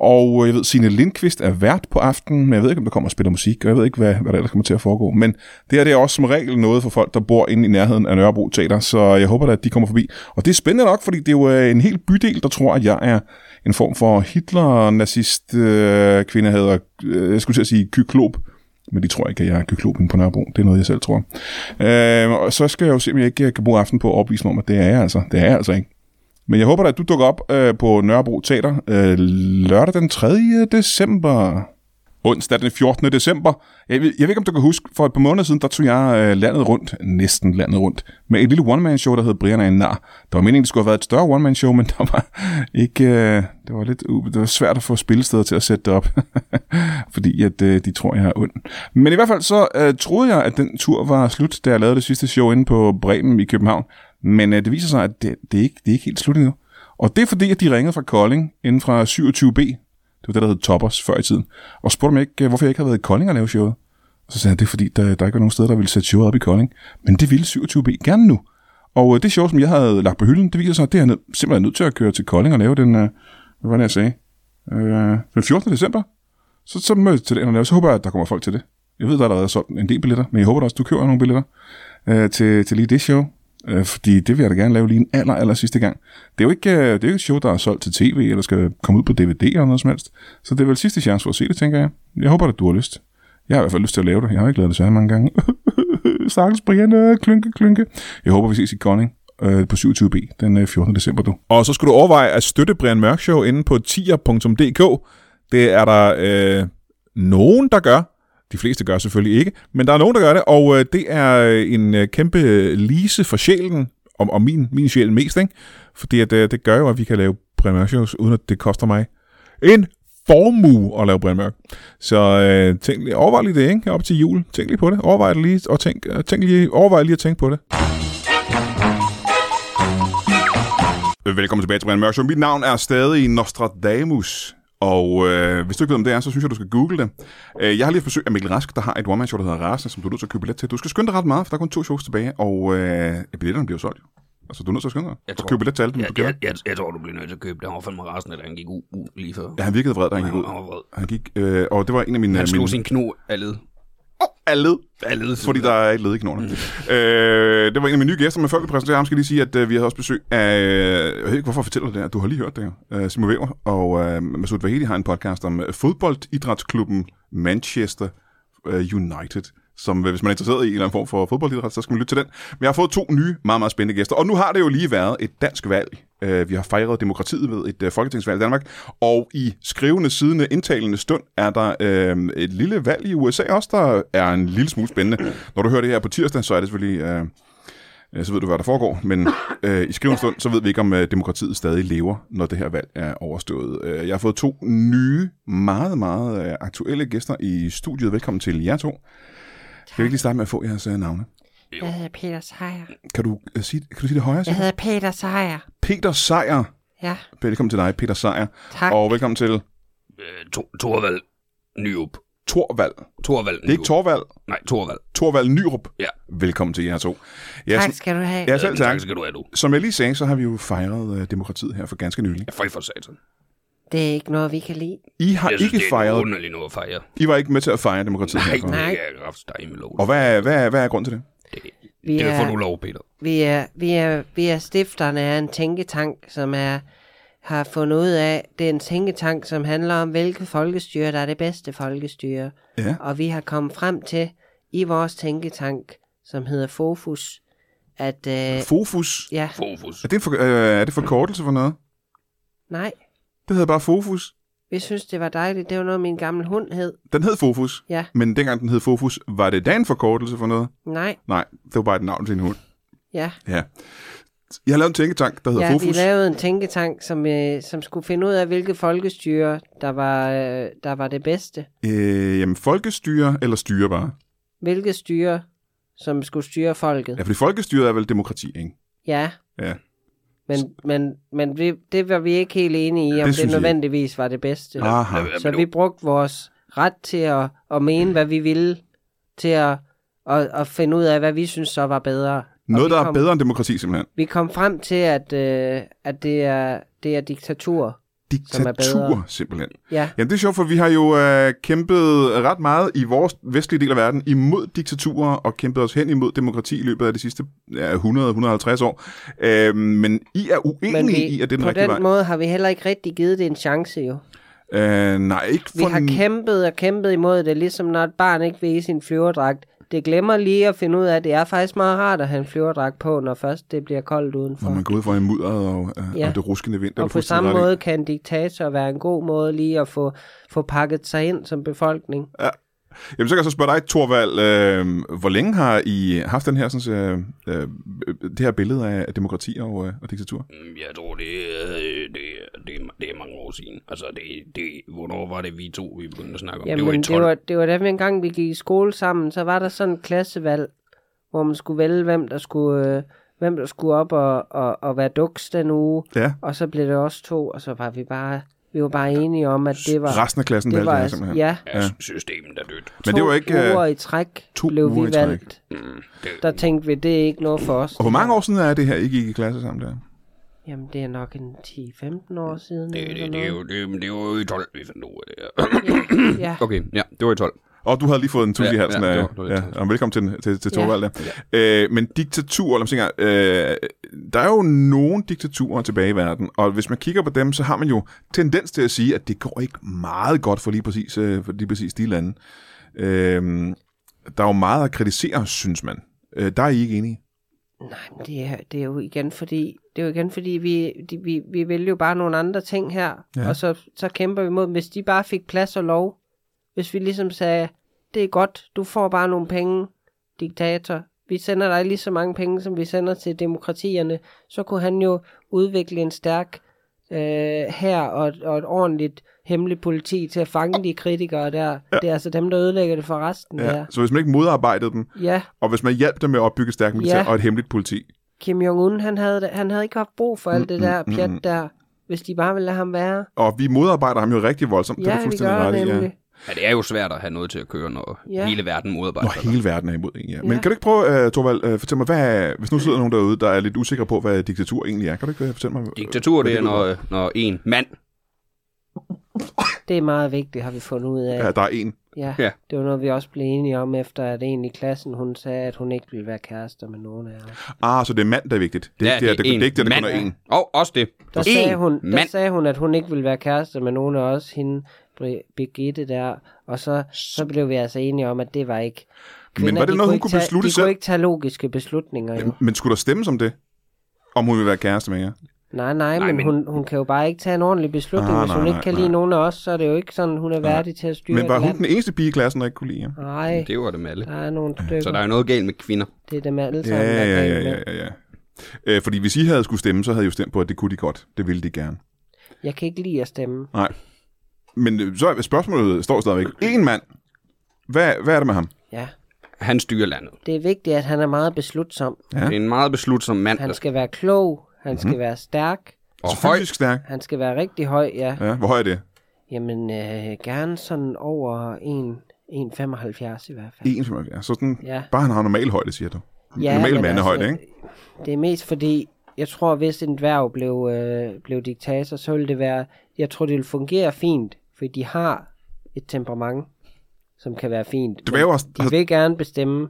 Speaker 1: Og øh, jeg ved, Signe Lindqvist er vært på aftenen, men jeg ved ikke, om der kommer og spiller musik, og jeg ved ikke, hvad, hvad der ellers kommer til at foregå. Men det her det er også som regel noget for folk, der bor inde i nærheden af Nørrebro Teater, så jeg håber da, at de kommer forbi. Og det er spændende nok, fordi det er jo øh, en hel bydel, der tror, at jeg er en form for Hitler-nazist øh, kvinde, hedder, øh, jeg skulle til at sige kyklop, men de tror ikke, at jeg er kyklopen på Nørrebro. Det er noget, jeg selv tror. Øh, og så skal jeg jo se, om jeg ikke kan bruge aften på at opvise mig om, at det er jeg altså. Det er jeg altså ikke. Men jeg håber da, at du dukker op øh, på Nørrebro Teater øh, lørdag den 3. december. Onsdag den 14. december. Jeg ved, jeg ved ikke, om du kan huske, for et par måneder siden, der tog jeg øh, landet rundt, næsten landet rundt, med et lille one-man-show, der hed Brian er en nar. Der var meningen, det skulle have været et større one-man-show, men der var ikke, øh, det var lidt u- det var svært at få spillesteder til at sætte det op, fordi at, øh, de tror, jeg er ond. Men i hvert fald så øh, troede jeg, at den tur var slut, da jeg lavede det sidste show inde på Bremen i København. Men øh, det viser sig, at det, det, er ikke, det er ikke helt slut endnu. Og det er fordi, at de ringede fra Kolding inden fra 27B, det var det, der hed Toppers før i tiden. Og spurgte mig ikke, øh, hvorfor jeg ikke havde været i Kolding og lave showet. Og så sagde jeg, det er fordi, der, der ikke var nogen steder, der ville sætte showet op i Kolding. Men det ville 27B gerne nu. Og øh, det show, som jeg havde lagt på hylden, det viser sig, at det er jeg nød- simpelthen nødt til at køre til Kolding og lave den, øh, hvad var det, jeg sagde? Øh, den 14. december. Så, så mødte til den, og så håber jeg, at der kommer folk til det. Jeg ved, der er allerede solgt en del billetter, men jeg håber da også, du køber nogle billetter øh, til, til lige det show. Øh, fordi det vil jeg da gerne lave lige en aller, aller sidste gang. Det er jo ikke, øh, det er jo ikke et show, der er solgt til tv, eller skal komme ud på DVD eller noget som helst. Så det er vel sidste chance for at se det, tænker jeg. Jeg håber, at du har lyst. Jeg har i hvert fald lyst til at lave det. Jeg har ikke lavet det så mange gange. Stakkels Brian, øh, klynke, klynke. Jeg håber, vi ses i Kolding øh, på 27B den øh, 14. december. Du. Og så skulle du overveje at støtte Brian Mørk Show inde på tier.dk. Det er der øh, nogen, der gør. De fleste gør selvfølgelig ikke, men der er nogen, der gør det, og øh, det er øh, en øh, kæmpe øh, lise for sjælen, og, og min, min sjæl mest, ikke? Fordi at, øh, det gør jo, at vi kan lave Brian Mørk shows, uden at det koster mig en formue at lave Brian Mørk. Så øh, tænk, lige- overvej lige det, ikke? Op til jul. Tænk lige på det. Overvej det lige, og tænk, øh, tænk lige, overvej lige at tænke på det. Velkommen tilbage til Brian Mørk Show. Mit navn er stadig Nostradamus, og øh, hvis du ikke ved, om det er, så synes jeg, du skal google det. Øh, jeg har lige haft besøg af Mikkel Rask, der har et one-man-show, der hedder Rasen, som du er nødt til at købe billet til. Du skal skynde dig ret meget, for der er kun to shows tilbage, og øh, billetterne bliver solgt. jo. Altså, du er nødt til at skynde dig.
Speaker 3: Jeg
Speaker 1: Du
Speaker 3: tror-
Speaker 1: køber billet til alle dem,
Speaker 3: Jeg,
Speaker 1: du kender.
Speaker 3: jeg, jeg, jeg tror, du bliver nødt til at købe det. Han var fandme rasende, da han gik ud, ud lige før.
Speaker 1: Ja, han virkede vred, da han gik ud.
Speaker 3: Han var vred.
Speaker 1: Han gik, øh, og det var en af mine...
Speaker 3: Han
Speaker 1: mine,
Speaker 3: slog sin kno af led.
Speaker 1: Alle led.
Speaker 3: Af led.
Speaker 1: Fordi der er et led i knoglerne. Mm. Øh, det var en af mine nye gæster, men før vi præsenterer ham, skal jeg lige sige, at øh, vi havde også besøg af... øh, Jeg ved ikke, hvorfor jeg fortæller det her. Du har lige hørt det her. Øh, Simon Wever og øh, Masoud Vahedi har en podcast om øh, fodboldidrætsklubben Manchester øh, United som øh, hvis man er interesseret i en eller anden form for fodboldidræt, så skal man lytte til den. Men jeg har fået to nye, meget, meget spændende gæster. Og nu har det jo lige været et dansk valg. Øh, Vi har fejret demokratiet ved et øh, folketingsvalg i Danmark. Og i skrivende, sidende, indtalende stund er der øh, et lille valg i USA også, der er en lille smule spændende. Når du hører det her på tirsdag, så er det selvfølgelig... Øh, øh, så ved du, hvad der foregår. Men øh, i skrivende stund, så ved vi ikke, om øh, demokratiet stadig lever, når det her valg er overstået. Øh, jeg har fået to nye, meget, meget øh, aktuelle gæster i studiet. Velkommen til jer to. Kan vi ikke lige starte med at få jeres øh, navne?
Speaker 4: Jeg hedder Peter Sejer.
Speaker 1: Kan du, øh, sige, kan du sige det højere?
Speaker 4: Jeg
Speaker 1: Simon?
Speaker 4: hedder Peter Sejer.
Speaker 1: Peter Sejer.
Speaker 4: Ja,
Speaker 1: Velkommen til dig, Peter Sejer.
Speaker 4: tak.
Speaker 1: Og velkommen til
Speaker 3: Øh, to, Torvald Nyrup.
Speaker 1: Torvald.
Speaker 3: Torvald
Speaker 1: Det er ikke Torvald.
Speaker 3: Nej, Torvald.
Speaker 1: Torvald Nyrup.
Speaker 3: Ja.
Speaker 1: Velkommen til jer to. Jeg,
Speaker 4: tak skal du have.
Speaker 1: jeg selv
Speaker 3: Øh,
Speaker 1: tak.
Speaker 3: skal du have, du.
Speaker 1: Som jeg lige sagde, så har vi jo fejret øh, demokratiet her for ganske nylig.
Speaker 3: Jeg fej for satan.
Speaker 4: Det er ikke noget, vi kan lide.
Speaker 1: I har
Speaker 3: Jeg
Speaker 1: ikke
Speaker 3: det er
Speaker 1: fejret.
Speaker 3: underligt noget at fejre.
Speaker 1: I var ikke med til at fejre demokratiet her.
Speaker 3: Nej,
Speaker 1: for-
Speaker 4: Nej.
Speaker 3: det er kraftstejme lov.
Speaker 1: Og hvad er, hvad, er, hvad er grunden til det?
Speaker 3: Det,
Speaker 4: Vi
Speaker 3: det
Speaker 4: er,
Speaker 3: får du lov, Peter.
Speaker 4: vi, er, vi, er, vi er stifterne af en tænketank, som er, har fundet ud af, det er en tænketank, som handler om, hvilket folkestyre, der er det bedste folkestyre.
Speaker 1: Ja.
Speaker 4: Og vi har kommet frem til, i vores tænketank, som hedder Fofus, at... Øh,
Speaker 1: Fofus.
Speaker 4: ja,
Speaker 3: Fofus.
Speaker 1: Er det, en for, øh, er det forkortelse for noget?
Speaker 4: nej.
Speaker 1: Det hedder bare Fofus.
Speaker 4: Vi synes, det var dejligt. Det var noget, min gamle hund hed.
Speaker 1: Den hed Fofus.
Speaker 4: Ja,
Speaker 1: Men dengang den hed Fofus, var det da en forkortelse for noget?
Speaker 4: nej,
Speaker 1: Nej, det var bare et navn til en hund.
Speaker 4: ja.
Speaker 1: Ja. Jeg har lavet en tænketank, der hedder
Speaker 4: Ja,
Speaker 1: Fofus.
Speaker 4: vi lavede en tænketank, som, øh, som skulle finde ud af, hvilke folkestyre, der var, øh, der var det bedste.
Speaker 1: Øh, jamen, folkestyre eller styre bare?
Speaker 4: Hvilke styre, som skulle styre folket.
Speaker 1: Ja, fordi folkestyret er vel demokrati, ikke?
Speaker 4: Ja,
Speaker 1: Ja.
Speaker 4: men, men, men vi, det var vi ikke helt enige i, om
Speaker 1: Det
Speaker 4: det,
Speaker 1: synes
Speaker 4: det
Speaker 1: jeg ikke.
Speaker 4: nødvendigvis var det bedste.
Speaker 1: Aha.
Speaker 3: Hvad
Speaker 4: Så
Speaker 3: med
Speaker 4: vi
Speaker 3: du?
Speaker 4: brugte vores ret til at, at mene, hvad vi ville, til at, at, at finde ud af, hvad vi synes så var bedre. Og
Speaker 1: Noget,
Speaker 4: vi
Speaker 1: der er
Speaker 4: kom,
Speaker 1: bedre end demokrati, simpelthen.
Speaker 4: Vi kom frem til, at, øh, at det, er, det er diktatur. Som er
Speaker 1: Diktatur,
Speaker 4: bedre.
Speaker 1: simpelthen.
Speaker 4: Ja,
Speaker 1: Jamen, det er sjovt, for vi har jo øh, kæmpet ret meget i vores vestlige del af verden imod diktaturer og kæmpet os hen imod demokrati i løbet af de sidste ja, 100-150 år. Øh, men I er uenige
Speaker 4: men vi,
Speaker 1: i, at det er den
Speaker 4: på
Speaker 1: rigtige
Speaker 4: den
Speaker 1: vej.
Speaker 4: måde har vi heller ikke rigtig givet det en chance jo.
Speaker 1: Øh, nej, ikke
Speaker 4: Vi
Speaker 1: for...
Speaker 4: har
Speaker 1: n-
Speaker 4: kæmpet og kæmpet imod det, ligesom når et barn ikke vil i sin flyverdragt. Det glemmer lige at finde ud af, at det er faktisk meget rart at have en flyverdragt på, når først det bliver koldt udenfor.
Speaker 1: Når man går ud fra en mudder og, øh,
Speaker 4: Ja.
Speaker 1: og det ruskende vind. det er du
Speaker 4: Og på
Speaker 1: fuldstændig
Speaker 4: samme
Speaker 1: ret i.
Speaker 4: måde kan en diktator være en god måde lige at få, få pakket sig ind som befolkning.
Speaker 1: Jamen, så kan jeg så spørge dig, Thorvald, øh, hvor længe har I haft den her, sådan, øh, øh, det her billede af demokrati og, øh, og diktatur?
Speaker 3: Mm, Jeg tror, det er, øh, det, er- det, er, det er mange år siden. Altså, det, det, hvornår var det vi to, vi begyndte at snakke om? det var i
Speaker 4: Jamen,
Speaker 3: 12.
Speaker 4: det var, det var da vi engang vi gik i skole sammen, så var der sådan en klassevalg, hvor man skulle vælge, hvem der skulle, øh, hvem der skulle op og, og, og være duks den uge.
Speaker 1: Ja.
Speaker 4: Og så blev det også to, og så var vi bare, vi var bare enige om, at det var...
Speaker 1: Resten af klassen
Speaker 4: det
Speaker 1: valgte
Speaker 4: var
Speaker 1: det her,
Speaker 4: altså,
Speaker 1: simpelthen.
Speaker 4: ja,
Speaker 3: Ja, sy- systemet er dødt.
Speaker 1: Men
Speaker 4: to
Speaker 1: det var ikke...
Speaker 4: uger
Speaker 1: Øh,
Speaker 4: i træk
Speaker 1: to
Speaker 4: blev
Speaker 1: uger i
Speaker 4: vi
Speaker 1: træk.
Speaker 4: valgt.
Speaker 3: Mm, det,
Speaker 4: Der tænkte vi, det er ikke noget for os.
Speaker 1: og hvor mange år siden er det her, I gik i klasse sammen der?
Speaker 4: Jamen, det er nok en 10-15 år siden.
Speaker 3: det,
Speaker 4: eller
Speaker 3: det, det, er
Speaker 4: noget.
Speaker 3: jo, det, men det var jo i 12, vi fandt ud af det her.
Speaker 4: Ja.
Speaker 3: Okay, ja, det var i 12.
Speaker 1: Og du havde lige fået en tusind i
Speaker 3: Ja,
Speaker 1: halsen
Speaker 3: ja,
Speaker 1: af...
Speaker 3: det
Speaker 1: Ja,
Speaker 3: var- det var lidt træls.
Speaker 1: og velkommen til, den- til, til
Speaker 4: Ja.
Speaker 1: Thorvald der. Øh, men diktatur, eller man tænker, øh, der er jo nogle diktaturer tilbage i verden, og hvis man kigger på dem, så har man jo tendens til at sige, at det går ikke meget godt for lige præcis, øh, for lige præcis de lande. Øh, der er jo meget at kritisere, synes man. Øh, der er I ikke enige.
Speaker 4: Nej, men det er, det er jo igen fordi, det er jo igen fordi vi, de, vi, vi vil jo bare nogle andre ting her,
Speaker 1: Ja.
Speaker 4: ja. og så, så kæmper vi mod dem. Hvis de bare fik plads og lov, hvis vi ligesom sagde, det er godt, du får bare nogle penge, diktator, vi sender dig lige så mange penge, som vi sender til demokratierne, så kunne han jo udvikle en stærk øh, her og, og et ordentligt hemmeligt politi til at fange de kritikere der. Ja. Det er altså dem, der ødelægger det for resten ja. der.
Speaker 1: Så hvis man ikke modarbejdede dem,
Speaker 4: Ja.
Speaker 1: og hvis man hjalp dem med at opbygge et stærkt militær
Speaker 4: Ja.
Speaker 1: og et hemmeligt politi,
Speaker 4: Kim Jong-un, han havde, det- han havde ikke haft brug
Speaker 1: Mm,
Speaker 4: for alt det der pjat der, hvis de bare ville lade ham være.
Speaker 1: og vi modarbejder ham jo rigtig voldsomt, det er
Speaker 4: Ja,
Speaker 1: du
Speaker 4: vi
Speaker 1: fuldstændig
Speaker 4: gør
Speaker 1: ret i,
Speaker 4: det
Speaker 1: ja.
Speaker 4: nemlig.
Speaker 3: Ja, det er jo svært at have noget til at køre, når
Speaker 4: Ja.
Speaker 3: hele verden modarbejder.
Speaker 1: Når
Speaker 3: dig.
Speaker 1: hele verden er imod en, ja. Men
Speaker 4: Ja.
Speaker 1: kan du ikke prøve, uh, Torvald, uh, fortælle mig, hvad, hvis nu sidder nogen derude, der er lidt usikre på, hvad diktatur egentlig er, kan du ikke øh, fortælle mig? øh,
Speaker 3: Diktatur,
Speaker 1: hvad
Speaker 3: det er,
Speaker 1: går ud
Speaker 3: når, når en mand...
Speaker 4: Det er meget vigtigt, har vi fundet ud
Speaker 1: på?
Speaker 4: af.
Speaker 1: Ja, der er en.
Speaker 4: Ja,
Speaker 3: Ja.
Speaker 4: det var noget, vi også blev enige om, efter at en i klassen, hun sagde, at hun ikke ville være kærester med nogen af os.
Speaker 1: Ah, så det er mand, der er vigtigt. Det er ikke det, at det, det, er ikke det, at der kun er en.
Speaker 3: Og også det.
Speaker 4: Der,
Speaker 3: en
Speaker 4: sagde hun, der
Speaker 3: mand.
Speaker 4: sagde hun, at hun ikke ville være kærester med nogen af os, hende Bri- Birgitte der, og så, så blev vi altså enige om, at det var ikke... Kvinder,
Speaker 1: var det
Speaker 4: de
Speaker 1: noget, hun
Speaker 4: ikke
Speaker 1: kunne
Speaker 4: tage,
Speaker 1: beslutte
Speaker 4: de
Speaker 1: selv?
Speaker 4: kunne ikke tage logiske beslutninger, jo.
Speaker 1: Men skulle der stemme som det? Om hun vil være kæreste med jer?
Speaker 4: Nej, nej, nej men,
Speaker 3: men-
Speaker 4: men hun, hun kan jo bare ikke tage en ordentlig beslutning.
Speaker 1: Ah,
Speaker 4: Ah, Hvis
Speaker 1: nej,
Speaker 4: hun
Speaker 1: nej,
Speaker 4: ikke kan
Speaker 1: nej.
Speaker 4: lide nogen af os, så er det jo ikke sådan, hun er værdig til at styre
Speaker 1: Men var
Speaker 4: et
Speaker 1: hun
Speaker 4: land.
Speaker 1: den eneste pige i klassen, der ikke kunne lide jer?
Speaker 4: Nej,
Speaker 3: Det var det med alle.
Speaker 4: der er nogle stykker.
Speaker 3: Så der er noget galt med kvinder.
Speaker 4: Det er dem alle sammen,
Speaker 1: Ja,
Speaker 4: der er
Speaker 1: ja, ja,
Speaker 4: galt
Speaker 1: ja,
Speaker 4: med.
Speaker 1: ja, ja. Øh, fordi hvis I havde skulle stemme, så havde I jo stemt på, at det kunne de godt. Det ville de gerne.
Speaker 4: Jeg kan ikke lide at stemme.
Speaker 1: Nej. Men øh, så er spørgsmålet står stadigvæk. En mand. Hvad, hvad er det med ham?
Speaker 4: Ja.
Speaker 3: Han styrer landet.
Speaker 4: Det er vigtigt, at han er meget beslutsom.
Speaker 1: Ja.
Speaker 3: Det er en meget beslutsom mand.
Speaker 4: Han
Speaker 3: der-
Speaker 4: skal være klog, han
Speaker 1: Mhm.
Speaker 4: skal være stærk,
Speaker 3: Og
Speaker 1: Så
Speaker 3: høj.
Speaker 1: Fysisk stærk.
Speaker 4: han skal være rigtig høj, ja.
Speaker 1: Ja, hvor høj er det?
Speaker 4: Jamen, øh, gerne sådan over 1,75 i hvert fald.
Speaker 1: 1,75. Så sådan, ja.
Speaker 4: Ja.
Speaker 1: bare han har normal højde, siger du. Ja, normal
Speaker 4: men
Speaker 1: mandehøjde, altså, ikke?
Speaker 4: Det er mest fordi, jeg tror, hvis en dværg blev, øh, blev diktator, så ville det være, jeg tror, det ville fungere fint, for de har et temperament, som kan være fint. men
Speaker 1: Dværge har-
Speaker 4: De vil gerne bestemme.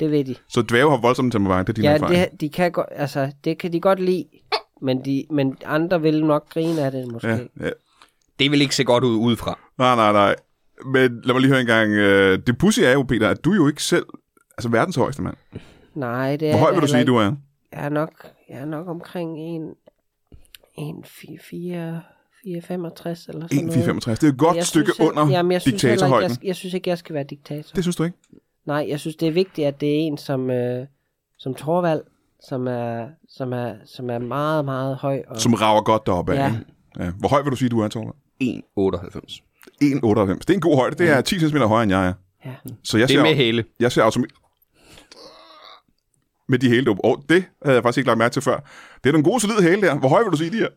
Speaker 4: Det vil de.
Speaker 1: Så dværge har voldsomt temperament, det er din ja,
Speaker 4: Ja,
Speaker 1: erfaring. Det...
Speaker 4: det, de kan godt, altså, det kan de godt lide, men, de, men andre vil nok grine af det, måske.
Speaker 1: Ja,
Speaker 4: Ja.
Speaker 1: ja.
Speaker 3: Det vil ikke se godt ud udefra.
Speaker 1: Nej, nej, nej. Men lad mig lige høre en gang. øh, Det pussy er jo, Peter, at du er jo ikke selv altså verdens højeste mand.
Speaker 4: Nej, det er
Speaker 1: Hvor høj vil du sige,
Speaker 4: du
Speaker 1: du er?
Speaker 4: Jeg er nok, jeg er nok omkring en, en 4, 4, 4, 65 eller sådan noget.
Speaker 1: 1,465. Det er et godt
Speaker 4: Jeg
Speaker 1: stykke
Speaker 4: synes,
Speaker 1: under
Speaker 4: jamen, jeg synes heller ikke,
Speaker 1: diktatorhøjden.
Speaker 4: jeg, sk- jeg synes ikke, jeg skal være diktator.
Speaker 1: Det synes du ikke?
Speaker 4: Nej, jeg synes, det er vigtigt, at det er en som, øh, som Torvald, som er, som, er, som er meget, meget høj. Og,
Speaker 1: Som rager godt deroppe af.
Speaker 4: Ja.
Speaker 1: ikke? Ja. Hvor høj vil du sige, du er, Torvald?
Speaker 3: 1,98.
Speaker 1: 1,98. Det er en god højde. Det er 10 cm højere, end jeg er.
Speaker 4: ja.
Speaker 1: Så jeg
Speaker 3: Det
Speaker 1: ser,
Speaker 3: er med hæle.
Speaker 1: jeg ser automatisk... Med de hæle, du... Åh, det havde jeg faktisk ikke lagt mærke til før. Det er nogle gode, solide hæle der. Hvor høj vil du sige, de er?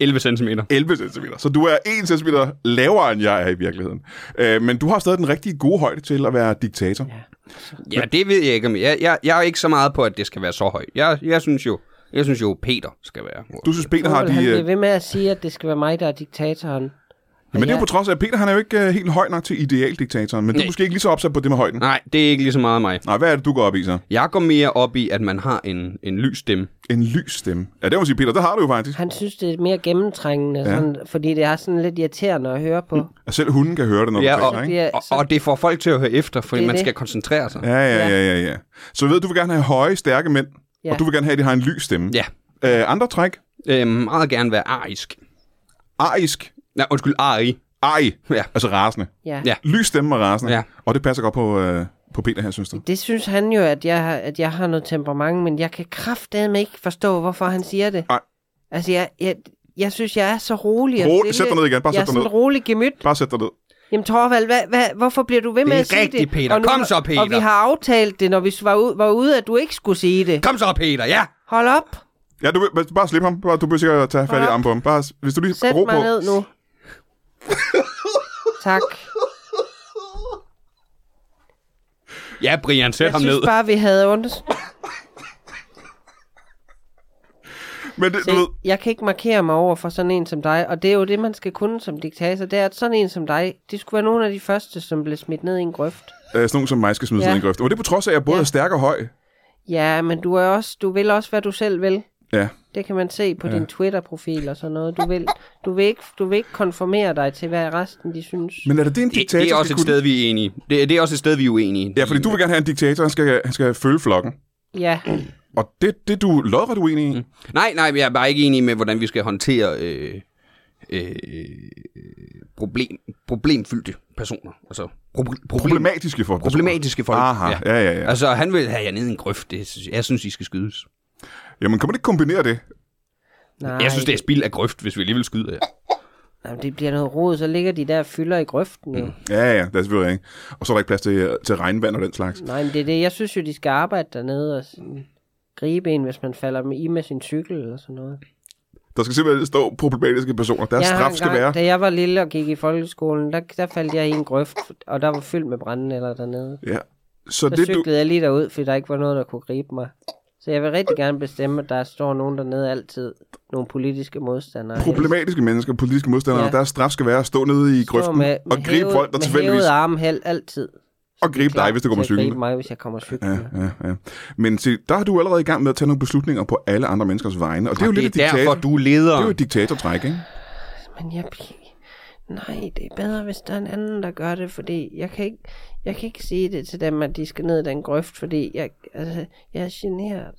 Speaker 3: 11 cm.
Speaker 1: 11 cm. Så du er 1 cm lavere, end jeg er i virkeligheden. Øh, men du har stadig den rigtige gode højde til at være diktator. Ja.
Speaker 3: Ja, det ved jeg ikke om. Jeg, jeg, jeg er ikke så meget på, at det skal være så højt. Jeg, jeg synes jo, jeg synes jo Peter skal være.
Speaker 1: Du synes, Peter har
Speaker 4: Torvald, han
Speaker 1: de...
Speaker 4: bliver
Speaker 1: Øh,
Speaker 4: ved med at sige, at det skal være mig, der er diktatoren.
Speaker 1: Men det er jo
Speaker 2: Ja.
Speaker 1: på trods af, at Peter han er jo ikke øh, helt høj nok til idealdiktatoren, men du er
Speaker 3: Nej.
Speaker 1: måske ikke lige så opsat på det med højden.
Speaker 3: Nej, det er ikke lige så meget mig.
Speaker 1: Nej, hvad er det, du går op i så?
Speaker 3: Jeg går mere op i, at man har en, en lys stemme.
Speaker 1: En lys stemme. Ja, det må man sige, Peter, det har du jo faktisk.
Speaker 4: Han synes, det er mere gennemtrængende,
Speaker 1: Ja. Mm,
Speaker 4: ja. sådan, fordi det er sådan lidt irriterende at høre på.
Speaker 1: Og selv hunden kan høre det, når du
Speaker 3: Ja,
Speaker 1: taler,
Speaker 3: og,
Speaker 1: ikke?
Speaker 4: Det er,
Speaker 3: og,
Speaker 4: så,
Speaker 3: og det får folk til at høre efter, fordi
Speaker 4: Det er
Speaker 3: man
Speaker 4: det.
Speaker 3: skal koncentrere sig.
Speaker 1: Ja, ja, ja, ja, ja. Så ved du, vil gerne have høje, stærke mænd, ja.
Speaker 4: Ja.
Speaker 1: og du vil gerne have, at de har en lys stemme.
Speaker 3: Ja.
Speaker 1: Øh, andre træk?
Speaker 3: Øhm, meget gerne være arisk.
Speaker 1: Arisk.
Speaker 3: Nej, undskyld, ari.
Speaker 1: Ej.
Speaker 3: Ja.
Speaker 1: Altså rasende.
Speaker 4: ja.
Speaker 3: Ja.
Speaker 4: ja.
Speaker 1: Lys stemme og rasende.
Speaker 3: Ja.
Speaker 1: Og det passer godt på, øh, på Peter her, synes du.
Speaker 4: Det synes han jo, at jeg, har, at jeg har noget temperament, men jeg kan kraftedeme ikke forstå, hvorfor han siger det.
Speaker 1: Nej.
Speaker 4: Altså, jeg, jeg, jeg synes, jeg er så rolig. og
Speaker 1: Ro, sæt
Speaker 4: stille.
Speaker 1: dig ned igen. Bare
Speaker 4: Jeg
Speaker 1: sæt
Speaker 4: er
Speaker 1: dig
Speaker 4: sådan
Speaker 1: ned.
Speaker 4: en rolig gemyt.
Speaker 1: Bare sæt dig ned.
Speaker 4: Jamen Torvald, hvad, hvad, hvorfor bliver du ved med
Speaker 3: er
Speaker 4: at sige det?
Speaker 3: rigtigt, Peter.
Speaker 4: Og
Speaker 3: Kom så, Peter.
Speaker 4: Og vi har aftalt det, når vi var, ud, var ude, at du ikke skulle sige det.
Speaker 3: Kom så, Peter, ja!
Speaker 4: Hold op.
Speaker 1: Ja, du, vil- bare slip ham. Bare, du behøver sikkert at tage fat i
Speaker 4: Hold op.
Speaker 1: armen på ham. Bare, hvis du lige
Speaker 4: Sæt
Speaker 1: ro
Speaker 4: mig
Speaker 1: på.
Speaker 4: ned nu. tak.
Speaker 3: Ja, Brian, sæt
Speaker 4: Jeg
Speaker 3: ham ned.
Speaker 4: synes bare, vi havde ondt.
Speaker 1: Men det, du ved,
Speaker 4: Jeg kan ikke markere mig over for sådan en som dig, og det er jo det, man skal kunne som diktator, det er, at sådan en som dig, det skulle være nogle af de første, som blev smidt ned i en grøft.
Speaker 1: øh, sådan nogen som mig skal smide
Speaker 4: Ja.
Speaker 1: ja. en grøft. Og det er på trods af, at jeg både
Speaker 4: Ja.
Speaker 1: er stærk og høj.
Speaker 4: Ja, men du, er også, du vil også, hvad du selv vil.
Speaker 1: Ja.
Speaker 4: Det kan man se på ja. din Twitter-profil og sådan noget. Du vil, du, vil ikke, du vil ikke konformere dig til, hvad resten de synes.
Speaker 1: Men er det det, en
Speaker 3: Det,
Speaker 1: diktator
Speaker 3: det er også
Speaker 1: skal
Speaker 3: et
Speaker 1: kunne?
Speaker 3: sted, vi er enige. Det, det er også et sted, vi er uenige.
Speaker 1: Ja, fordi du vil gerne have en diktator, han skal, han skal følge flokken.
Speaker 4: Ja,
Speaker 1: Og det, det er du lodret uenig i. Mm.
Speaker 3: Nej, nej, jeg er bare ikke enig med, hvordan vi skal håndtere øh, øh, problem, problemfyldte personer. Altså, proble- problem,
Speaker 1: Problematiske for
Speaker 3: problematiske folk.
Speaker 1: Aha, ja, ja, ja.
Speaker 3: Altså, han vil have jer ned i en grøft. Det, synes- jeg synes, I skal skydes.
Speaker 1: Jamen, kan man ikke kombinere det?
Speaker 4: nej.
Speaker 3: Ej. Jeg synes, det er spild af grøft, hvis vi alligevel skyder jer.
Speaker 4: Jamen, det bliver noget rod, så ligger de der og fylder i grøften. Mm.
Speaker 1: Ja, ja, det er selvfølgelig ikke. Og så er der ikke plads til, til regnvand og den slags.
Speaker 4: Nej, men det er det. Jeg synes jo, de skal arbejde dernede og sådan, gribe en, hvis man falder med i med sin cykel eller sådan noget.
Speaker 1: Der skal simpelthen stå problematiske personer. Deres
Speaker 4: har
Speaker 1: straf skal
Speaker 4: engang,
Speaker 1: være...
Speaker 4: Da jeg var lille og gik i folkeskolen, der, der faldt jeg i en grøft, og der var fyldt med brændenælder dernede.
Speaker 1: Ja. Så
Speaker 4: Så
Speaker 1: det, du...
Speaker 4: cyklede jeg lige derud, fordi der ikke var noget, der kunne gribe mig. Så jeg vil rigtig gerne bestemme, at der står nogen dernede altid. Nogle politiske modstandere.
Speaker 1: Problematiske mennesker, politiske modstandere, ja.
Speaker 4: Ja.
Speaker 1: deres straf skal være at stå nede i
Speaker 4: Helst. Står
Speaker 1: grøften og gribe
Speaker 4: hævet-
Speaker 1: folk, der
Speaker 4: med hævet
Speaker 1: tilfældigvis...
Speaker 4: arm held altid.
Speaker 1: Og gribe dig,
Speaker 4: Klar
Speaker 1: hvis du kommer
Speaker 4: til at
Speaker 1: cyklende.
Speaker 4: gribe mig, hvis jeg kommer cyklende. Ja.
Speaker 1: Ja, ja, ja. Men se, der er du allerede i gang med at tage nogle beslutninger på alle andre menneskers vegne. Og det er jo
Speaker 3: Og
Speaker 1: lidt et
Speaker 3: det er
Speaker 1: diktator.
Speaker 3: derfor,
Speaker 1: Det
Speaker 3: du er leder.
Speaker 1: er jo et diktatortræk, ikke?
Speaker 4: Men jeg bliver... Nej, det er bedre, hvis der er en anden, der gør det, fordi jeg kan ikke, jeg kan ikke sige det til dem, at de skal ned i den grøft, fordi jeg, altså, jeg er generet.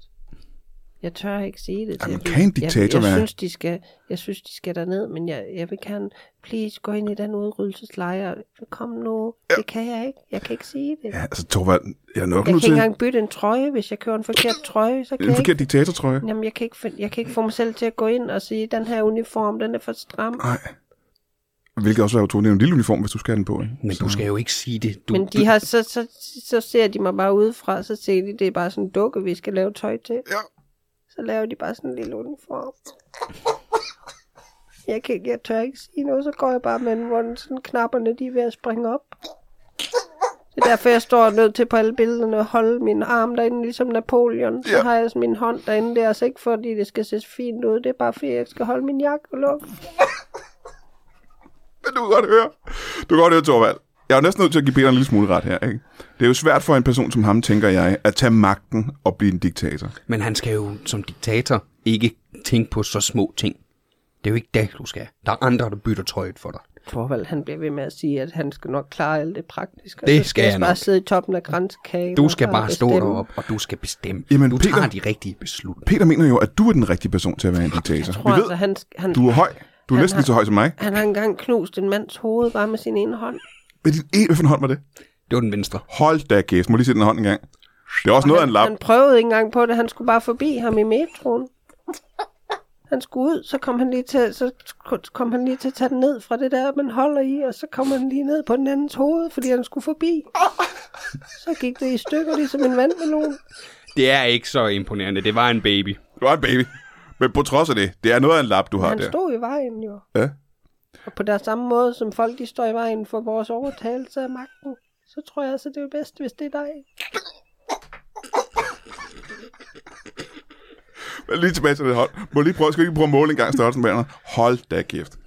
Speaker 4: Jeg tør ikke sige det til
Speaker 1: Jamen,
Speaker 4: dem.
Speaker 1: kan en diktator
Speaker 4: jeg, jeg
Speaker 1: være-
Speaker 4: Synes, de skal, jeg synes, de skal derned, men jeg, jeg vil gerne... Please, gå ind i den udryddelseslejr. Kom nu. Det kan jeg ikke. Jeg kan ikke sige det.
Speaker 1: Ja, altså Torvald, jeg er nok
Speaker 4: Jeg kan
Speaker 1: nødt
Speaker 4: ikke
Speaker 1: til Øh,
Speaker 4: engang bytte en trøje, hvis jeg kører en forkert trøje. Så kan
Speaker 1: en
Speaker 4: jeg ikke
Speaker 1: forkert diktatortrøje.
Speaker 4: Jamen, jeg kan, ikke, fin- jeg kan ikke få mig selv til at gå ind og sige, den her uniform, den er for stram.
Speaker 1: Nej. Hvilket også er utroligt. Det er en lille uniform, hvis du skal have den på. Ikke?
Speaker 3: Men du skal jo ikke sige det. Du,
Speaker 4: Men de har, så, så, så ser de mig bare udefra, så ser de, det er bare sådan en dukke, vi skal lave tøj til.
Speaker 1: Ja.
Speaker 4: Så laver de bare sådan en lille uniform. Jeg, kan, jeg tør ikke sige noget, så går jeg bare med den, hvor den sådan knapperne de er ved at springe op. Det er derfor, jeg står nødt til på alle billederne at holde min arm derinde, ligesom Napoleon. Så
Speaker 1: Ja.
Speaker 4: ja. har jeg sådan min hånd derinde, det er altså ikke fordi, det skal se fint ud. Det er bare fordi, jeg skal holde min jakke og lukke.
Speaker 1: Men du kan godt høre. Du kan godt høre, Torvald. Jeg er jo næsten nødt til at give Peter en lille smule ret her. Ikke? Det er jo svært for en person som ham, tænker jeg, at tage magten og blive en diktator.
Speaker 3: Men han skal jo som diktator ikke tænke på så små ting. Det er jo ikke det, du skal. Der er andre, der bytter tøjet for dig.
Speaker 4: Torvald, han bliver ved med at sige, at han skal nok klare alt det praktiske. og
Speaker 3: Det
Speaker 4: så
Speaker 3: skal jeg
Speaker 4: jeg bare
Speaker 3: nok.
Speaker 4: sidde i toppen af grænskagen.
Speaker 3: Du
Speaker 4: og
Speaker 3: skal bare stå
Speaker 4: bestemme.
Speaker 3: deroppe, og du skal bestemme.
Speaker 1: Jamen,
Speaker 3: du
Speaker 1: Peter-
Speaker 3: tager de rigtige beslutninger.
Speaker 1: Peter mener jo, at du er den rigtige person til at være en diktator.
Speaker 4: Jeg tror
Speaker 1: Vi ved,
Speaker 4: altså, han, han,
Speaker 1: du er høj. Du er
Speaker 4: Han
Speaker 1: næsten
Speaker 4: har-
Speaker 1: lige så høj som mig.
Speaker 4: han har engang knust en mands hoved bare med sin ene hånd.
Speaker 1: Men din e, hvilken hånd var det?
Speaker 3: Det var den venstre.
Speaker 1: Hold da kæft. Må lige se den hånd en gang. Det er også noget af en
Speaker 4: han,
Speaker 1: lap.
Speaker 4: han prøvede ikke engang på det. Han skulle bare forbi ham i metroen. Han skulle ud, så kom han lige til, så kom han lige til at tage den ned fra det der, man holder i, og så kom han lige ned på den andens hoved, fordi han skulle forbi. Så gik det i stykker, ligesom en vandmelon.
Speaker 3: Det er ikke så imponerende. Det var en baby.
Speaker 1: Du er en baby. Men på trods af det, det er noget af en lap, du har
Speaker 4: Han
Speaker 1: der.
Speaker 4: stod i vejen jo.
Speaker 1: Ja.
Speaker 4: Og på der samme måde, som folk de står i vejen for vores overtagelse af magten, så tror jeg altså, det er bedst, hvis det er dig.
Speaker 1: Men Lige tilbage til den hånd. Må jeg lige prøve, skal vi ikke prøve at måle en gang størrelsen med Hold da kæft.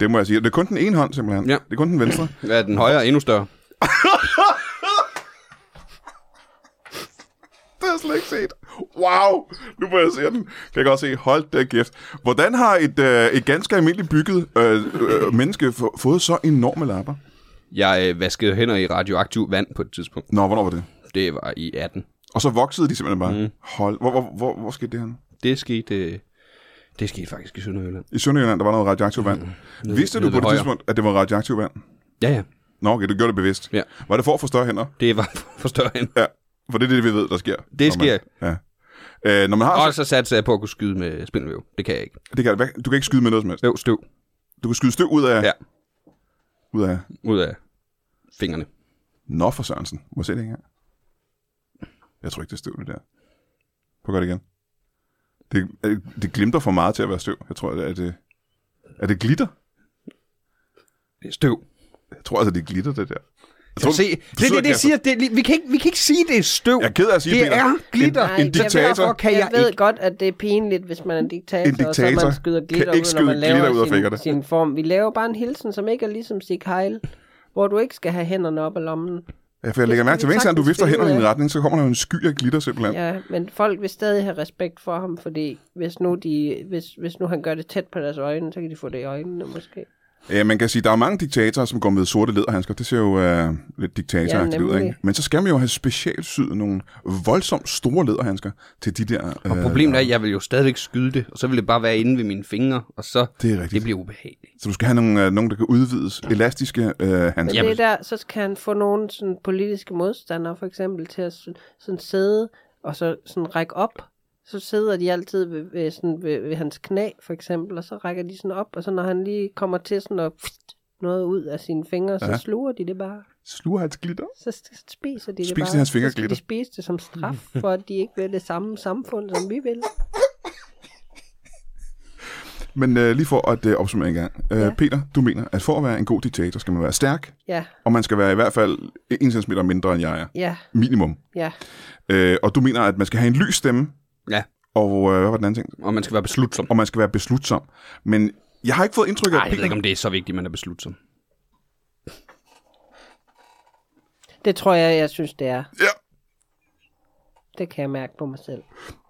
Speaker 1: Det må jeg sige. Det er kun den ene hånd, simpelthen.
Speaker 3: Ja.
Speaker 1: Det er kun den venstre.
Speaker 3: Ja, den højre er endnu større.
Speaker 1: Det har jeg slet ikke set. Wow, nu må jeg se den. Kan jeg godt se. Hold da kæft. Hvordan har et, øh, et ganske almindeligt bygget øh, øh, menneske få, fået så enorme lapper?
Speaker 3: Jeg øh, vaskede hænder i radioaktiv vand på et tidspunkt.
Speaker 1: Nå, hvornår var det?
Speaker 3: Det var i 18.
Speaker 1: Og så voksede de simpelthen bare. Mm. Hold, hvor, hvor, hvor, hvor skete det her?
Speaker 3: Det skete, øh, det skete faktisk i Sønderjylland.
Speaker 1: I Sønderjylland, der var noget radioaktivt vand. Mm. Vidste du
Speaker 3: nede
Speaker 1: på
Speaker 3: ved
Speaker 1: det
Speaker 3: højre.
Speaker 1: tidspunkt, at det var radioaktivt vand?
Speaker 3: Ja, ja.
Speaker 1: Nå, okay, du gjorde det bevidst.
Speaker 3: Ja.
Speaker 1: Var det for at få større hænder?
Speaker 3: Det var for større end.
Speaker 1: Ja, for det er det, vi ved, der sker.
Speaker 3: Det
Speaker 1: når man-
Speaker 3: sker.
Speaker 1: Ja. Øh, når man har...
Speaker 3: Og så satte jeg på at kunne skyde med spindelvæv. Det kan jeg ikke.
Speaker 1: Det kan, hvad- du kan ikke skyde med noget som helst.
Speaker 3: Jo, støv
Speaker 1: Du kan skyde støv ud af...
Speaker 3: Ja.
Speaker 1: Ud af...
Speaker 3: ud af fingrene.
Speaker 1: Nå for Sørensen. Må jeg se det her? Jeg tror ikke, det er støv, det der. Prøv at gøre det igen. Det, øh, det glimter for meget til at være støv. Jeg tror, at det... Er det glitter?
Speaker 3: Det er støv.
Speaker 1: Jeg tror altså, det er glitter, det der. Jeg
Speaker 3: Kan
Speaker 1: tror,
Speaker 3: du se? Det er det, det siger. Det, er lige- vi, kan ikke, vi kan ikke sige, det er støv.
Speaker 1: Jeg er ked af at sige,
Speaker 3: det
Speaker 1: Peter.
Speaker 3: er glitter.
Speaker 1: En, en diktator
Speaker 3: Derfor kan jeg,
Speaker 4: jeg ved
Speaker 3: ikke.
Speaker 4: godt, at det er pinligt, hvis man er en diktator,
Speaker 1: En
Speaker 4: og så man
Speaker 1: diktator
Speaker 4: skyder
Speaker 1: kan
Speaker 4: glitter
Speaker 1: ikke
Speaker 4: ud, når
Speaker 1: skyde
Speaker 4: man laver
Speaker 1: glitter ud af fingrene.
Speaker 4: sin, sin form. Vi laver bare en hilsen, som ikke er ligesom Stig Heil, hvor du ikke skal have hænderne op af lommen.
Speaker 1: Ja, for jeg lægger mærke til, hver eneste gang, du
Speaker 4: sagtens
Speaker 1: vifter
Speaker 4: finde ud
Speaker 1: hænderne i en
Speaker 4: af.
Speaker 1: retning, så kommer der jo en sky af glitter simpelthen.
Speaker 4: Ja, men folk vil stadig have respekt for ham, fordi hvis nu, de, hvis, hvis nu han gør det tæt på deres øjne, så kan de få det i øjnene måske.
Speaker 1: Ja, man kan sige, der er mange diktatorer, som går med sorte læderhandsker. Det ser jo øh, lidt diktatoragtigt
Speaker 4: Ja,
Speaker 1: ud,
Speaker 4: nemlig.
Speaker 1: ikke? Men så skal man jo have specielt syet nogle voldsomt store læderhandsker til de der... Øh,
Speaker 3: Og problemet er, at jeg vil jo stadigvæk skyde det, og så vil det bare være inde ved mine fingre, og så
Speaker 1: Det er rigtigt.
Speaker 3: det bliver ubehageligt.
Speaker 1: Så du skal have nogle, øh, nogle der kan udvides. Elastiske øh, handsker.
Speaker 4: Men det er der, så skal han få nogle sådan, politiske modstandere for eksempel til at sådan, sådan sidde og så sådan række op. Så sidder de altid ved, ved, sådan, ved, ved hans knæ for eksempel, og så rækker de sådan op, og så når han lige kommer til sådan at pft, noget ud af sine fingre, så
Speaker 1: Ja.
Speaker 4: sluger de det bare.
Speaker 1: Sluger hans glitter.
Speaker 4: Så s- spiser de det
Speaker 1: Spiser
Speaker 4: bare.
Speaker 1: de hans fingre
Speaker 4: så skal
Speaker 1: glitter?
Speaker 4: de spise det som straf, for at de ikke vil det samme samfund, som vi vil.
Speaker 1: Men øh, lige for at øh, opsummere en gang. Øh,
Speaker 4: Ja.
Speaker 1: Peter, du mener, at for at være en god diktator, skal man være stærk,
Speaker 4: Ja,
Speaker 1: og man skal være i hvert fald 1 cm mindre, end jeg er.
Speaker 4: ja,
Speaker 1: Minimum.
Speaker 4: ja.
Speaker 1: Øh, og du mener, at man skal have en lys stemme,
Speaker 3: Ja,
Speaker 1: og øh, hvad var den anden ting?
Speaker 3: og man skal være beslutsom.
Speaker 1: og man skal være beslutsom. Men jeg har ikke fået indtryk af,
Speaker 3: Nej,
Speaker 1: at
Speaker 3: jeg ved
Speaker 1: Peter...
Speaker 3: ikke, om det er så vigtigt, man er beslutsom.
Speaker 4: Det tror jeg, jeg synes, det er.
Speaker 1: Ja,
Speaker 4: Det kan jeg mærke på mig selv.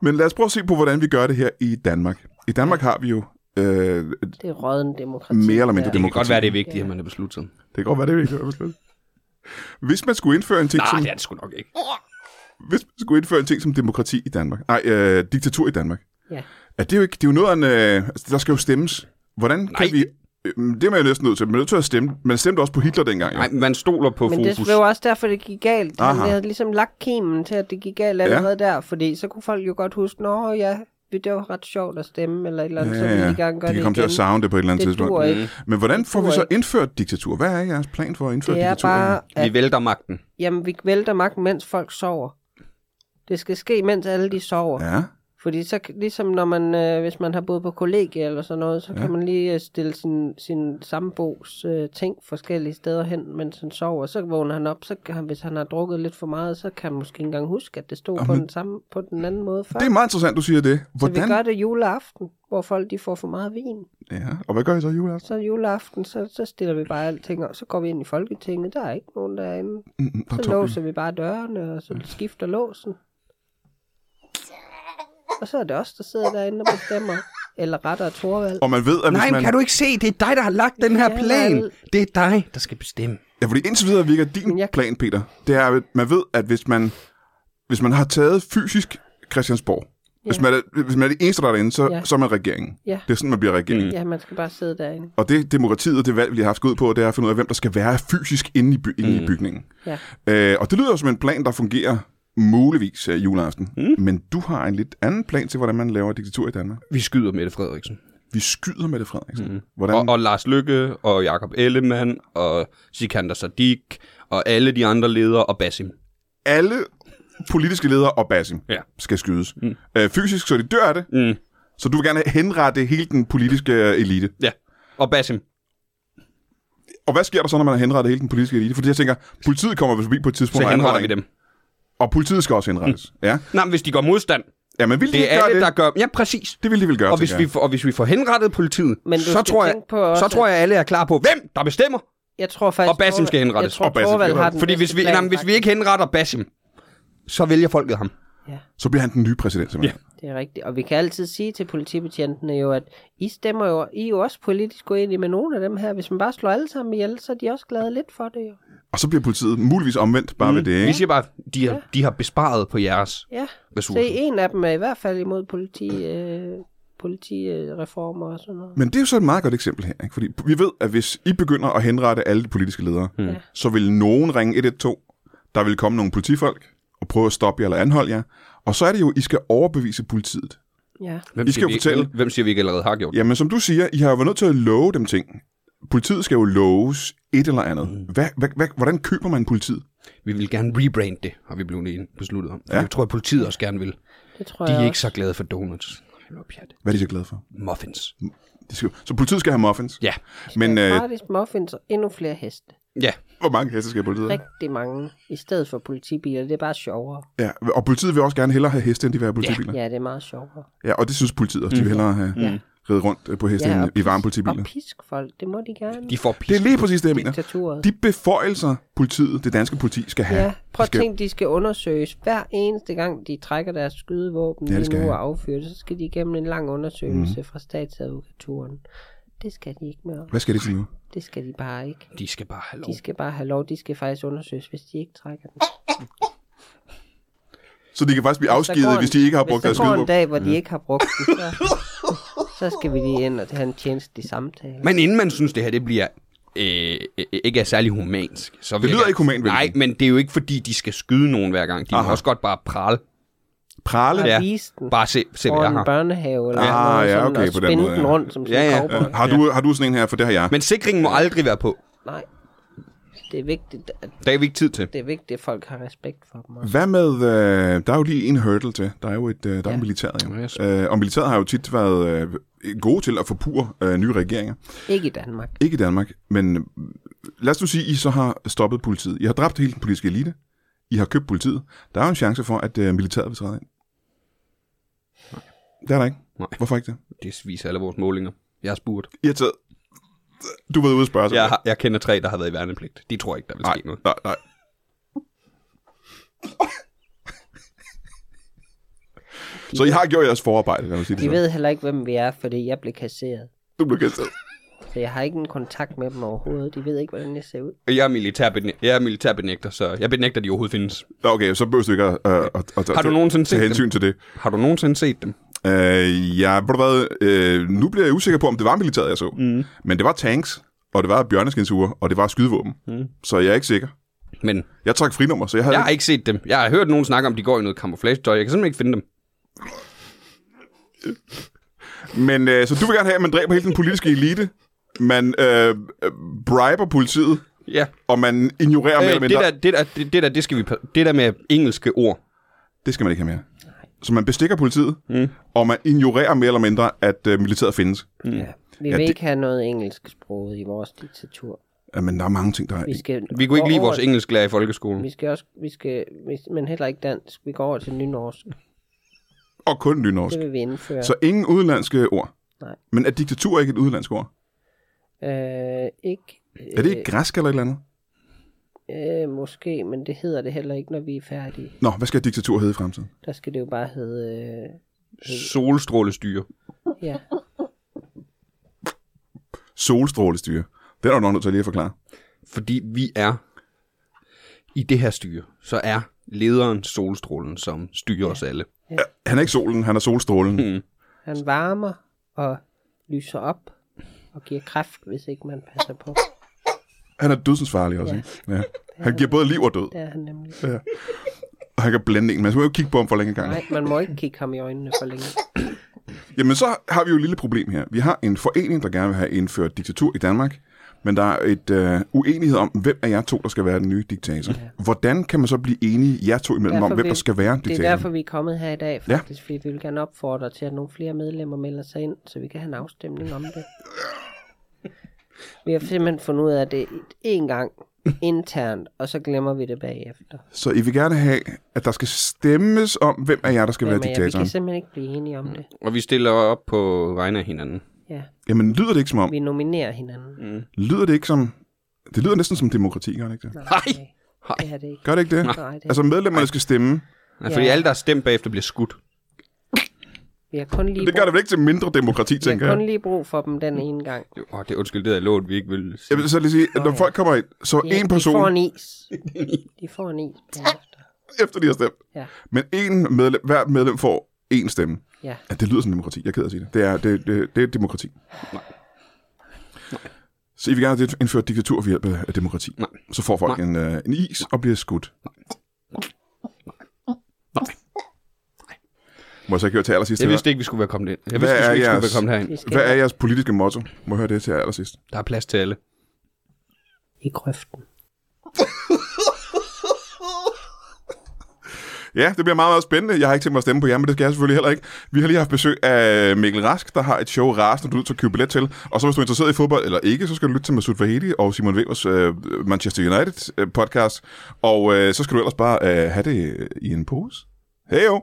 Speaker 1: men lad os prøve at se på, hvordan vi gør det her i Danmark. I Danmark har vi jo... Øh,
Speaker 4: Det er råden demokrati.
Speaker 1: mere eller mindre
Speaker 4: Ja.
Speaker 1: ja.
Speaker 3: Det kan godt
Speaker 1: demokrati.
Speaker 3: være, det er vigtigt, at man er beslutsom.
Speaker 1: Det kan godt være, det vi ikke har besluttet. Hvis man skulle indføre en ting,
Speaker 3: Nej,
Speaker 1: som,
Speaker 3: det er det sgu nok ikke.
Speaker 1: hvis man skulle indføre en ting som demokrati i Danmark, nej, øh, diktatur i Danmark,
Speaker 4: Ja.
Speaker 1: er det jo ikke, det er jo noget af en, øh, altså, der skal jo stemmes. Hvordan
Speaker 3: Nej.
Speaker 1: kan vi, øh, det er man jo næsten nødt til, man er nødt til at stemme, man stemte også på Hitler dengang, jo.
Speaker 3: Nej, man stoler på
Speaker 4: Men
Speaker 3: fokus.
Speaker 4: det var jo også derfor, det gik galt. Han
Speaker 1: Aha.
Speaker 4: havde ligesom lagt kimen til, at det gik galt allerede ja. der, fordi så kunne folk jo godt huske, nå ja, det var ret sjovt at stemme, eller et eller andet, ja, så ville de gerne
Speaker 1: de
Speaker 4: gøre
Speaker 1: kan
Speaker 4: det
Speaker 1: komme til
Speaker 4: igen.
Speaker 1: at savne det på et eller andet
Speaker 4: Det
Speaker 1: tidspunkt. Mm.
Speaker 4: duer ikke.
Speaker 1: Men hvordan får vi
Speaker 4: duer
Speaker 1: så
Speaker 4: ikke.
Speaker 1: indført diktatur? Hvad er jeres plan for at indføre
Speaker 4: Det er
Speaker 1: diktatur?
Speaker 4: bare,
Speaker 3: Vi
Speaker 4: at
Speaker 3: vælter magten.
Speaker 4: jamen, vi vælter magten, mens folk sover. Det skal ske, mens alle de sover. Ja.
Speaker 1: Ja.
Speaker 4: Fordi så, kan- ligesom når man, øh, hvis man har boet på kollegie eller sådan noget, så ja. kan man lige øh, stille sin, sin sambos øh, ting forskellige steder hen, mens han sover. Så vågner han op, så kan han, hvis han har drukket lidt for meget, så kan han måske ikke engang huske, at det stod på, den samme, på den anden måde før.
Speaker 1: Det er meget interessant, du siger det.
Speaker 4: Så vi gør
Speaker 1: Hvordan?
Speaker 4: det juleaften, hvor folk de får for meget vin.
Speaker 1: Ja, og hvad gør I så juleaften?
Speaker 4: Så juleaften, så, så stiller vi bare alting op. Så går vi ind i Folketinget, der er ikke nogen derinde.
Speaker 1: Mm, der er
Speaker 4: Så
Speaker 1: tomt.
Speaker 4: låser vi bare dørene, og så skifter låsen. Og så er det os, der sidder derinde og bestemmer. Eller retter og Torvald.
Speaker 1: Og man ved, at hvis
Speaker 3: Nej,
Speaker 1: man...
Speaker 3: men kan du ikke se? Det er dig, der har lagt den her
Speaker 4: Ja,
Speaker 3: plan.
Speaker 4: vel.
Speaker 3: Det er dig, der skal bestemme.
Speaker 1: Ja, fordi indtil videre virker din
Speaker 4: Men
Speaker 1: jeg...
Speaker 4: jeg-
Speaker 1: plan, Peter, det er, at man ved, at hvis man, hvis man har taget fysisk Christiansborg, ja. hvis, man er, hvis man er det eneste, der er derinde, så, ja.
Speaker 4: Ja.
Speaker 1: så er man regeringen.
Speaker 4: Ja.
Speaker 1: Det er sådan, man bliver regeringen. Mm.
Speaker 4: Ja, man skal bare sidde derinde.
Speaker 1: Og det demokratiet, det valg, vi har haft ud på, det er at finde ud af, hvem der skal være fysisk inde i, by- inde
Speaker 3: Mm.
Speaker 1: i bygningen.
Speaker 4: Ja.
Speaker 1: Øh, og det lyder jo som en plan, der fungerer muligvis øh, juleaften. Mm. Men du har en lidt anden plan til, hvordan man laver diktatur i Danmark.
Speaker 3: Vi skyder Mette Frederiksen.
Speaker 1: Vi skyder Mette Frederiksen. Mm. Hvordan?
Speaker 3: Og, og Lars Lykke, og Jakob Ellemann, og Sikander Sadik, og alle de andre ledere, og Basim.
Speaker 1: alle politiske ledere og Basim
Speaker 3: Ja.
Speaker 1: skal skydes. Mm. Øh, fysisk, så de dør af det. Mm. Så du vil gerne henrette hele den politiske øh, elite.
Speaker 3: Ja, og Basim.
Speaker 1: Og hvad sker der så, når man har henrettet hele den politiske elite? Fordi jeg tænker, politiet kommer forbi på et tidspunkt.
Speaker 3: Så
Speaker 1: og
Speaker 3: henretter vi
Speaker 1: anholder en.
Speaker 3: dem.
Speaker 1: Og politiet skal også henrettes. Mm. Ja.
Speaker 3: Nej, men hvis de går modstand,
Speaker 1: Ja, men vil de
Speaker 3: Det
Speaker 1: ikke
Speaker 3: er
Speaker 1: gøre
Speaker 3: alle,
Speaker 1: det?
Speaker 3: der gør... Ja, præcis.
Speaker 1: Det vil de vel gøre,
Speaker 3: Og hvis,
Speaker 1: tænker
Speaker 3: vi, får- og hvis vi får henrettet politiet,
Speaker 4: Men du
Speaker 3: så
Speaker 4: skal
Speaker 3: tror, jeg,
Speaker 4: tænke på også,
Speaker 3: så
Speaker 4: at-
Speaker 3: tror jeg, alle er klar på, hvem der bestemmer.
Speaker 4: Jeg tror faktisk...
Speaker 3: Og Basim skal henrettes.
Speaker 4: Jeg tror,
Speaker 1: Og Basim skal
Speaker 4: Thorvald har
Speaker 1: henrettes.
Speaker 4: den
Speaker 3: Fordi hvis
Speaker 4: bedste
Speaker 3: vi,
Speaker 4: plan,
Speaker 3: nej, men hvis vi
Speaker 4: faktisk.
Speaker 3: ikke henretter Basim, så vælger folket ham.
Speaker 1: jeg. Så bliver han den nye præsident, simpelthen.
Speaker 4: Det er rigtigt. Og vi kan altid sige til politibetjentene jo, at I stemmer jo, I er jo også politisk uenige med nogle af dem her. Hvis man bare slår alle sammen ihjel, så er de også glade lidt for det jo.
Speaker 1: Og så bliver politiet muligvis omvendt bare ved det,
Speaker 3: Vi
Speaker 1: ikke?
Speaker 3: siger bare, de har, de har besparet på jeres
Speaker 4: Ja. Så
Speaker 3: ressourcer.
Speaker 4: en af dem er i hvert fald imod politi, øh, politireformer og sådan noget.
Speaker 1: Men det er jo så et meget godt eksempel her, ikke? Fordi vi ved, at hvis I begynder at henrette alle de politiske ledere, mm. så vil nogen ringe 112, der vil komme nogle politifolk og prøve at stoppe jer eller anholde jer. Og så er det jo, I skal overbevise politiet.
Speaker 4: Ja.
Speaker 3: Hvem
Speaker 1: I skal
Speaker 3: siger
Speaker 1: jo
Speaker 3: vi ikke-
Speaker 1: fortælle-
Speaker 3: Hvem siger vi ikke allerede har gjort?
Speaker 1: Jamen, som du siger, I har jo været nødt til at love dem ting. Politiet skal jo loves et eller andet. Mm. Hvad, hvad, hvad, hvordan køber man politiet?
Speaker 3: Vi vil gerne rebrand det, har vi blevet enige besluttet om. Ja. Jeg tror, at politiet også gerne vil.
Speaker 4: Det tror
Speaker 3: De
Speaker 4: jeg
Speaker 3: er ikke
Speaker 4: også.
Speaker 3: så glade for donuts. Hold op, pjat.
Speaker 1: Hvad er de så glade for?
Speaker 3: Muffins.
Speaker 1: De skal, så politiet skal have muffins.
Speaker 3: Ja.
Speaker 1: Men øh,
Speaker 4: Gratis muffins og endnu flere heste.
Speaker 3: Ja.
Speaker 1: hvor mange heste skal politiet have?
Speaker 4: Rigtig mange. I stedet for politibiler. Det er bare sjovere.
Speaker 1: Ja, og politiet vil også gerne hellere have heste, end de vil have politibiler. Ja,
Speaker 4: Ja, det er meget sjovere.
Speaker 1: ja og det synes politiet også. De vil hellere have mm. reddet rundt øh, på heste,
Speaker 4: Ja,
Speaker 1: ja,
Speaker 4: og
Speaker 1: end i varme politibiler.
Speaker 4: Og pisk folk, det må de gerne.
Speaker 3: De får pis.
Speaker 1: Det er lige præcis det, jeg mener.
Speaker 4: Diktaturet.
Speaker 1: De beføjelser, politiet, det danske politi, skal have.
Speaker 4: Ja,
Speaker 1: de
Speaker 4: prøv at
Speaker 1: skal,
Speaker 4: tænke, de skal undersøges. Hver eneste gang, de trækker deres skydevåben
Speaker 1: Ja,
Speaker 4: ja,
Speaker 1: det
Speaker 4: lige
Speaker 1: skal
Speaker 4: nu
Speaker 1: jeg.
Speaker 4: og affyrer det, så skal de igennem en lang undersøgelse mm. fra statsadvokaturen. Det skal de ikke mere.
Speaker 1: Hvad skal det sige nu?
Speaker 4: Det skal de bare ikke.
Speaker 3: De skal bare have lov.
Speaker 4: De skal bare have lov. De skal faktisk undersøges, hvis de ikke trækker den.
Speaker 1: Så de kan faktisk blive
Speaker 4: Så
Speaker 1: afskedet,
Speaker 4: går en-
Speaker 1: hvis de ikke har brugt
Speaker 4: hvis
Speaker 1: deres
Speaker 4: der går en
Speaker 1: skydevåben.
Speaker 4: dag, hvor de ikke har brugt den, så, så skal vi lige ind og have en tjenestelig samtale.
Speaker 3: Men inden man synes, det her det bliver øh, øh, ikke er særlig humansk. Så vil
Speaker 1: lyder
Speaker 3: jeg gerne-
Speaker 1: ikke humant, vil jeg
Speaker 3: Nej,
Speaker 1: sige.
Speaker 3: men det er jo ikke, fordi de skal skyde nogen hver gang. De Aha.
Speaker 1: Aha.
Speaker 3: må også godt bare prale.
Speaker 1: Prale.
Speaker 4: Og
Speaker 3: Ja.
Speaker 4: vise den
Speaker 3: Bare se, se hvad jeg
Speaker 4: foran en
Speaker 3: har.
Speaker 4: børnehave eller
Speaker 1: Ah,
Speaker 4: sådan noget,
Speaker 1: ja,
Speaker 4: sådan,
Speaker 1: okay,
Speaker 4: og
Speaker 1: på den
Speaker 4: spænde
Speaker 1: måde,
Speaker 4: den
Speaker 1: ja.
Speaker 4: rundt som sådan
Speaker 3: Ja, ja.
Speaker 4: en cowboy.
Speaker 1: Øh, Har du, har du sådan en her, for det har jeg.
Speaker 3: Men sikringen må aldrig være på.
Speaker 4: Nej, det er vigtigt, at
Speaker 3: Der er vi ikke tid til.
Speaker 4: det er vigtigt, at folk har respekt for dem.
Speaker 1: Hvad med, øh, der er jo lige en hurdle til. Der er jo et, øh, der er ja. militæret jo.
Speaker 3: Yes.
Speaker 1: Øh, og militæret har jo tit været øh, gode til at forpure øh, nye regeringer.
Speaker 4: Ikke i Danmark.
Speaker 1: Ikke i Danmark, men øh, lad os nu sige, I så har stoppet politiet. I har dræbt hele den politiske elite. I har købt politiet. Der er jo en chance for, at øh, militæret vil træde ind. Det er der ikke.
Speaker 3: Nej.
Speaker 1: Hvorfor ikke det?
Speaker 3: Det viser alle vores målinger. Jeg har spurgt.
Speaker 1: I har taget... Du har været ude og spørge sig.
Speaker 3: Jeg, har, jeg kender tre, der har været i værnepligt. De tror ikke, der vil
Speaker 1: nej,
Speaker 3: ske noget.
Speaker 1: nej, nej. Så I har gjort jeres forarbejde, lad mig sige det
Speaker 4: De
Speaker 1: sådan.
Speaker 4: ved heller ikke, hvem vi er, fordi jeg blev kasseret.
Speaker 1: Du blev kastet.
Speaker 4: Så jeg har ikke en kontakt med dem overhovedet. De ved ikke, hvordan jeg ser ud.
Speaker 3: Jeg er, militærbene- jeg er militærbenægter, så jeg benægter, at de overhovedet findes.
Speaker 1: Nå, Okay, så behøver du ikke at, at, at, at,
Speaker 3: Har du nogensinde
Speaker 1: tage
Speaker 3: set
Speaker 1: hensyn til det.
Speaker 3: Har du nogensinde set dem?
Speaker 1: Øh, ja, ved du hvad, øh, nu bliver jeg usikker på, om det var militæret, jeg så. Mm. Men det var tanks, og det var bjørneskinsure, og det var skydevåben. Mm. Så jeg er ikke sikker.
Speaker 3: Men
Speaker 1: Jeg trak frinummer, så jeg havde...
Speaker 3: jeg har
Speaker 1: ikke-
Speaker 3: ikke set dem. Jeg har hørt nogen snakke om, at de går i noget camouflage-tøj. Jeg kan simpelthen ikke finde dem.
Speaker 1: Men øh, så du vil gerne have, at man dræber hele den politiske elite, man øh, øh, briber politiet,
Speaker 3: Ja.
Speaker 1: og man ignorerer øh, mere
Speaker 3: Øh,
Speaker 1: eller
Speaker 3: det,
Speaker 1: mindre.
Speaker 3: der, det, der, det, det der, det skal vi... pa- Det der med engelske ord.
Speaker 1: Det skal man ikke have mere. Så man bestikker politiet, mm. og man ignorerer mere eller mindre, at øh, militæret findes.
Speaker 4: Mm. Ja. Vi
Speaker 1: Ja,
Speaker 4: ja, vil
Speaker 1: det-
Speaker 4: det... ikke have noget engelsk sprog i vores diktatur.
Speaker 1: Ja, men der er mange ting, der er...
Speaker 4: Vi, skal
Speaker 3: Vi kunne ikke lide
Speaker 4: over-
Speaker 3: vores engelsklærer i folkeskolen.
Speaker 4: Vi skal også, vi skal, vi, men heller ikke dansk. Vi går over til nynorsk.
Speaker 1: Og kun nynorsk.
Speaker 4: Det vil vi indføre.
Speaker 1: Så ingen udenlandske ord.
Speaker 4: Nej.
Speaker 1: Men er diktatur ikke et udenlandsk ord?
Speaker 4: Øh, ikke,
Speaker 1: Er det ikke græsk eller et eller andet?
Speaker 4: øh, måske, men det hedder det heller ikke, når vi er færdige.
Speaker 1: Nå, hvad skal diktatur hedde i fremtiden?
Speaker 4: Der skal det jo bare hedde... Øh,
Speaker 3: Solstrålestyre.
Speaker 4: ja.
Speaker 1: Solstrålestyre. Det er der jo nok nødt til lige at forklare.
Speaker 3: Fordi vi er i det her styre, så er lederen solstrålen, som styrer os alle.
Speaker 1: Ja. Han er ikke solen, han er solstrålen. Mm.
Speaker 4: Hmm. Han varmer og lyser op og giver kræft, hvis ikke man passer på.
Speaker 1: Han er dødsensfarlig også, ja. ikke? Ja. Han giver både liv og død,
Speaker 4: Det er han nemlig.
Speaker 1: og han kan blande en. Man skal jo ikke kigge på ham for længe gang.
Speaker 4: Nej, man må ikke kigge ham i øjnene for længe.
Speaker 1: Jamen, så har vi jo et lille problem her. Vi har en forening, der gerne vil have indført diktatur i Danmark, men der er et øh, uenighed om, hvem af jer to, der skal være den nye diktator. Ja. Hvordan kan man så blive enige, jer to imellem, om, hvem
Speaker 4: vi-
Speaker 1: der skal være en
Speaker 4: Det
Speaker 1: diktator?
Speaker 4: er derfor, vi er kommet her i dag, faktisk, ja. fordi vi vil gerne opfordre til, at nogle flere medlemmer melder sig ind, så vi kan have en afstemning om det. Vi har simpelthen fundet ud af, at det en gang internt, og så glemmer vi det bagefter.
Speaker 1: Så I vil gerne have, at der skal stemmes om, hvem af jer, der skal
Speaker 4: Hvem
Speaker 1: være
Speaker 4: er jeg? øh, Vi
Speaker 1: diktatoren. Mm.
Speaker 4: kan simpelthen ikke blive enige om det.
Speaker 3: Og vi stiller op på vegne af hinanden.
Speaker 4: Ja.
Speaker 1: Jamen, lyder det ikke som om...
Speaker 4: Vi nominerer hinanden.
Speaker 1: Mm. Lyder det ikke som... Det lyder næsten som demokrati, gør det ikke det?
Speaker 4: Nej,
Speaker 3: Hej!
Speaker 4: okay. det er det ikke.
Speaker 1: Gør det ikke det?
Speaker 4: Nej, det er,
Speaker 1: Altså, medlemmerne skal stemme.
Speaker 3: Ja, fordi
Speaker 4: Ja.
Speaker 3: alle, der er stemt bagefter, bliver skudt.
Speaker 4: vi har kun lige
Speaker 1: Det gør det vel ikke til mindre demokrati,
Speaker 4: brug, vi
Speaker 1: tænker
Speaker 4: har kun
Speaker 1: jeg.
Speaker 4: lige brug for dem den ene gang.
Speaker 3: Åh, oh, det er undskyld, det havde jeg lovet, vi ikke ville
Speaker 1: Jeg vil så lige sige, at når folk kommer ind, så
Speaker 4: Ja,
Speaker 1: en
Speaker 4: De får
Speaker 1: person
Speaker 4: en is. De får en is bagefter.
Speaker 1: efter de har stemt.
Speaker 4: Ja.
Speaker 1: Men en medlem, hver medlem får en stemme.
Speaker 4: Ja.
Speaker 1: Ja, det lyder som demokrati. Jeg er ked af at sige det. Det er, det, det, det er demokrati.
Speaker 3: Nej.
Speaker 1: Så I vil gerne indføre diktatur ved hjælp af demokrati.
Speaker 3: Nej.
Speaker 1: Så får folk
Speaker 3: Nej.
Speaker 1: en, øh, en is og bliver skudt. Nej. Må jeg så ikke høre til allersidst?
Speaker 3: Jeg
Speaker 1: det
Speaker 3: vidste ikke, vi skulle være kommet ind. Jeg
Speaker 1: Hvad
Speaker 3: vidste, vi
Speaker 1: er
Speaker 3: skulle ikke
Speaker 1: jeres-
Speaker 3: skulle være kommet herind.
Speaker 4: Vi
Speaker 1: her?
Speaker 4: skal
Speaker 1: Hvad er jeres politiske motto? Må jeg høre det til allersidst?
Speaker 3: Der er plads til alle.
Speaker 4: i grøften.
Speaker 1: Ja, det bliver meget, meget spændende. Jeg har ikke tænkt mig at stemme på jer, men det skal jeg selvfølgelig heller ikke. Vi har lige haft besøg af Mikkel Rask, der har et show Rasen, du er nødt til at købe billet til. Og så hvis du er interesseret i fodbold eller ikke, så skal du lytte til Masoud Vahedi og Simon Webers øh, Manchester United øh, podcast. Og øh, så skal du ellers bare øh, have det øh, i en pose. Hej jo!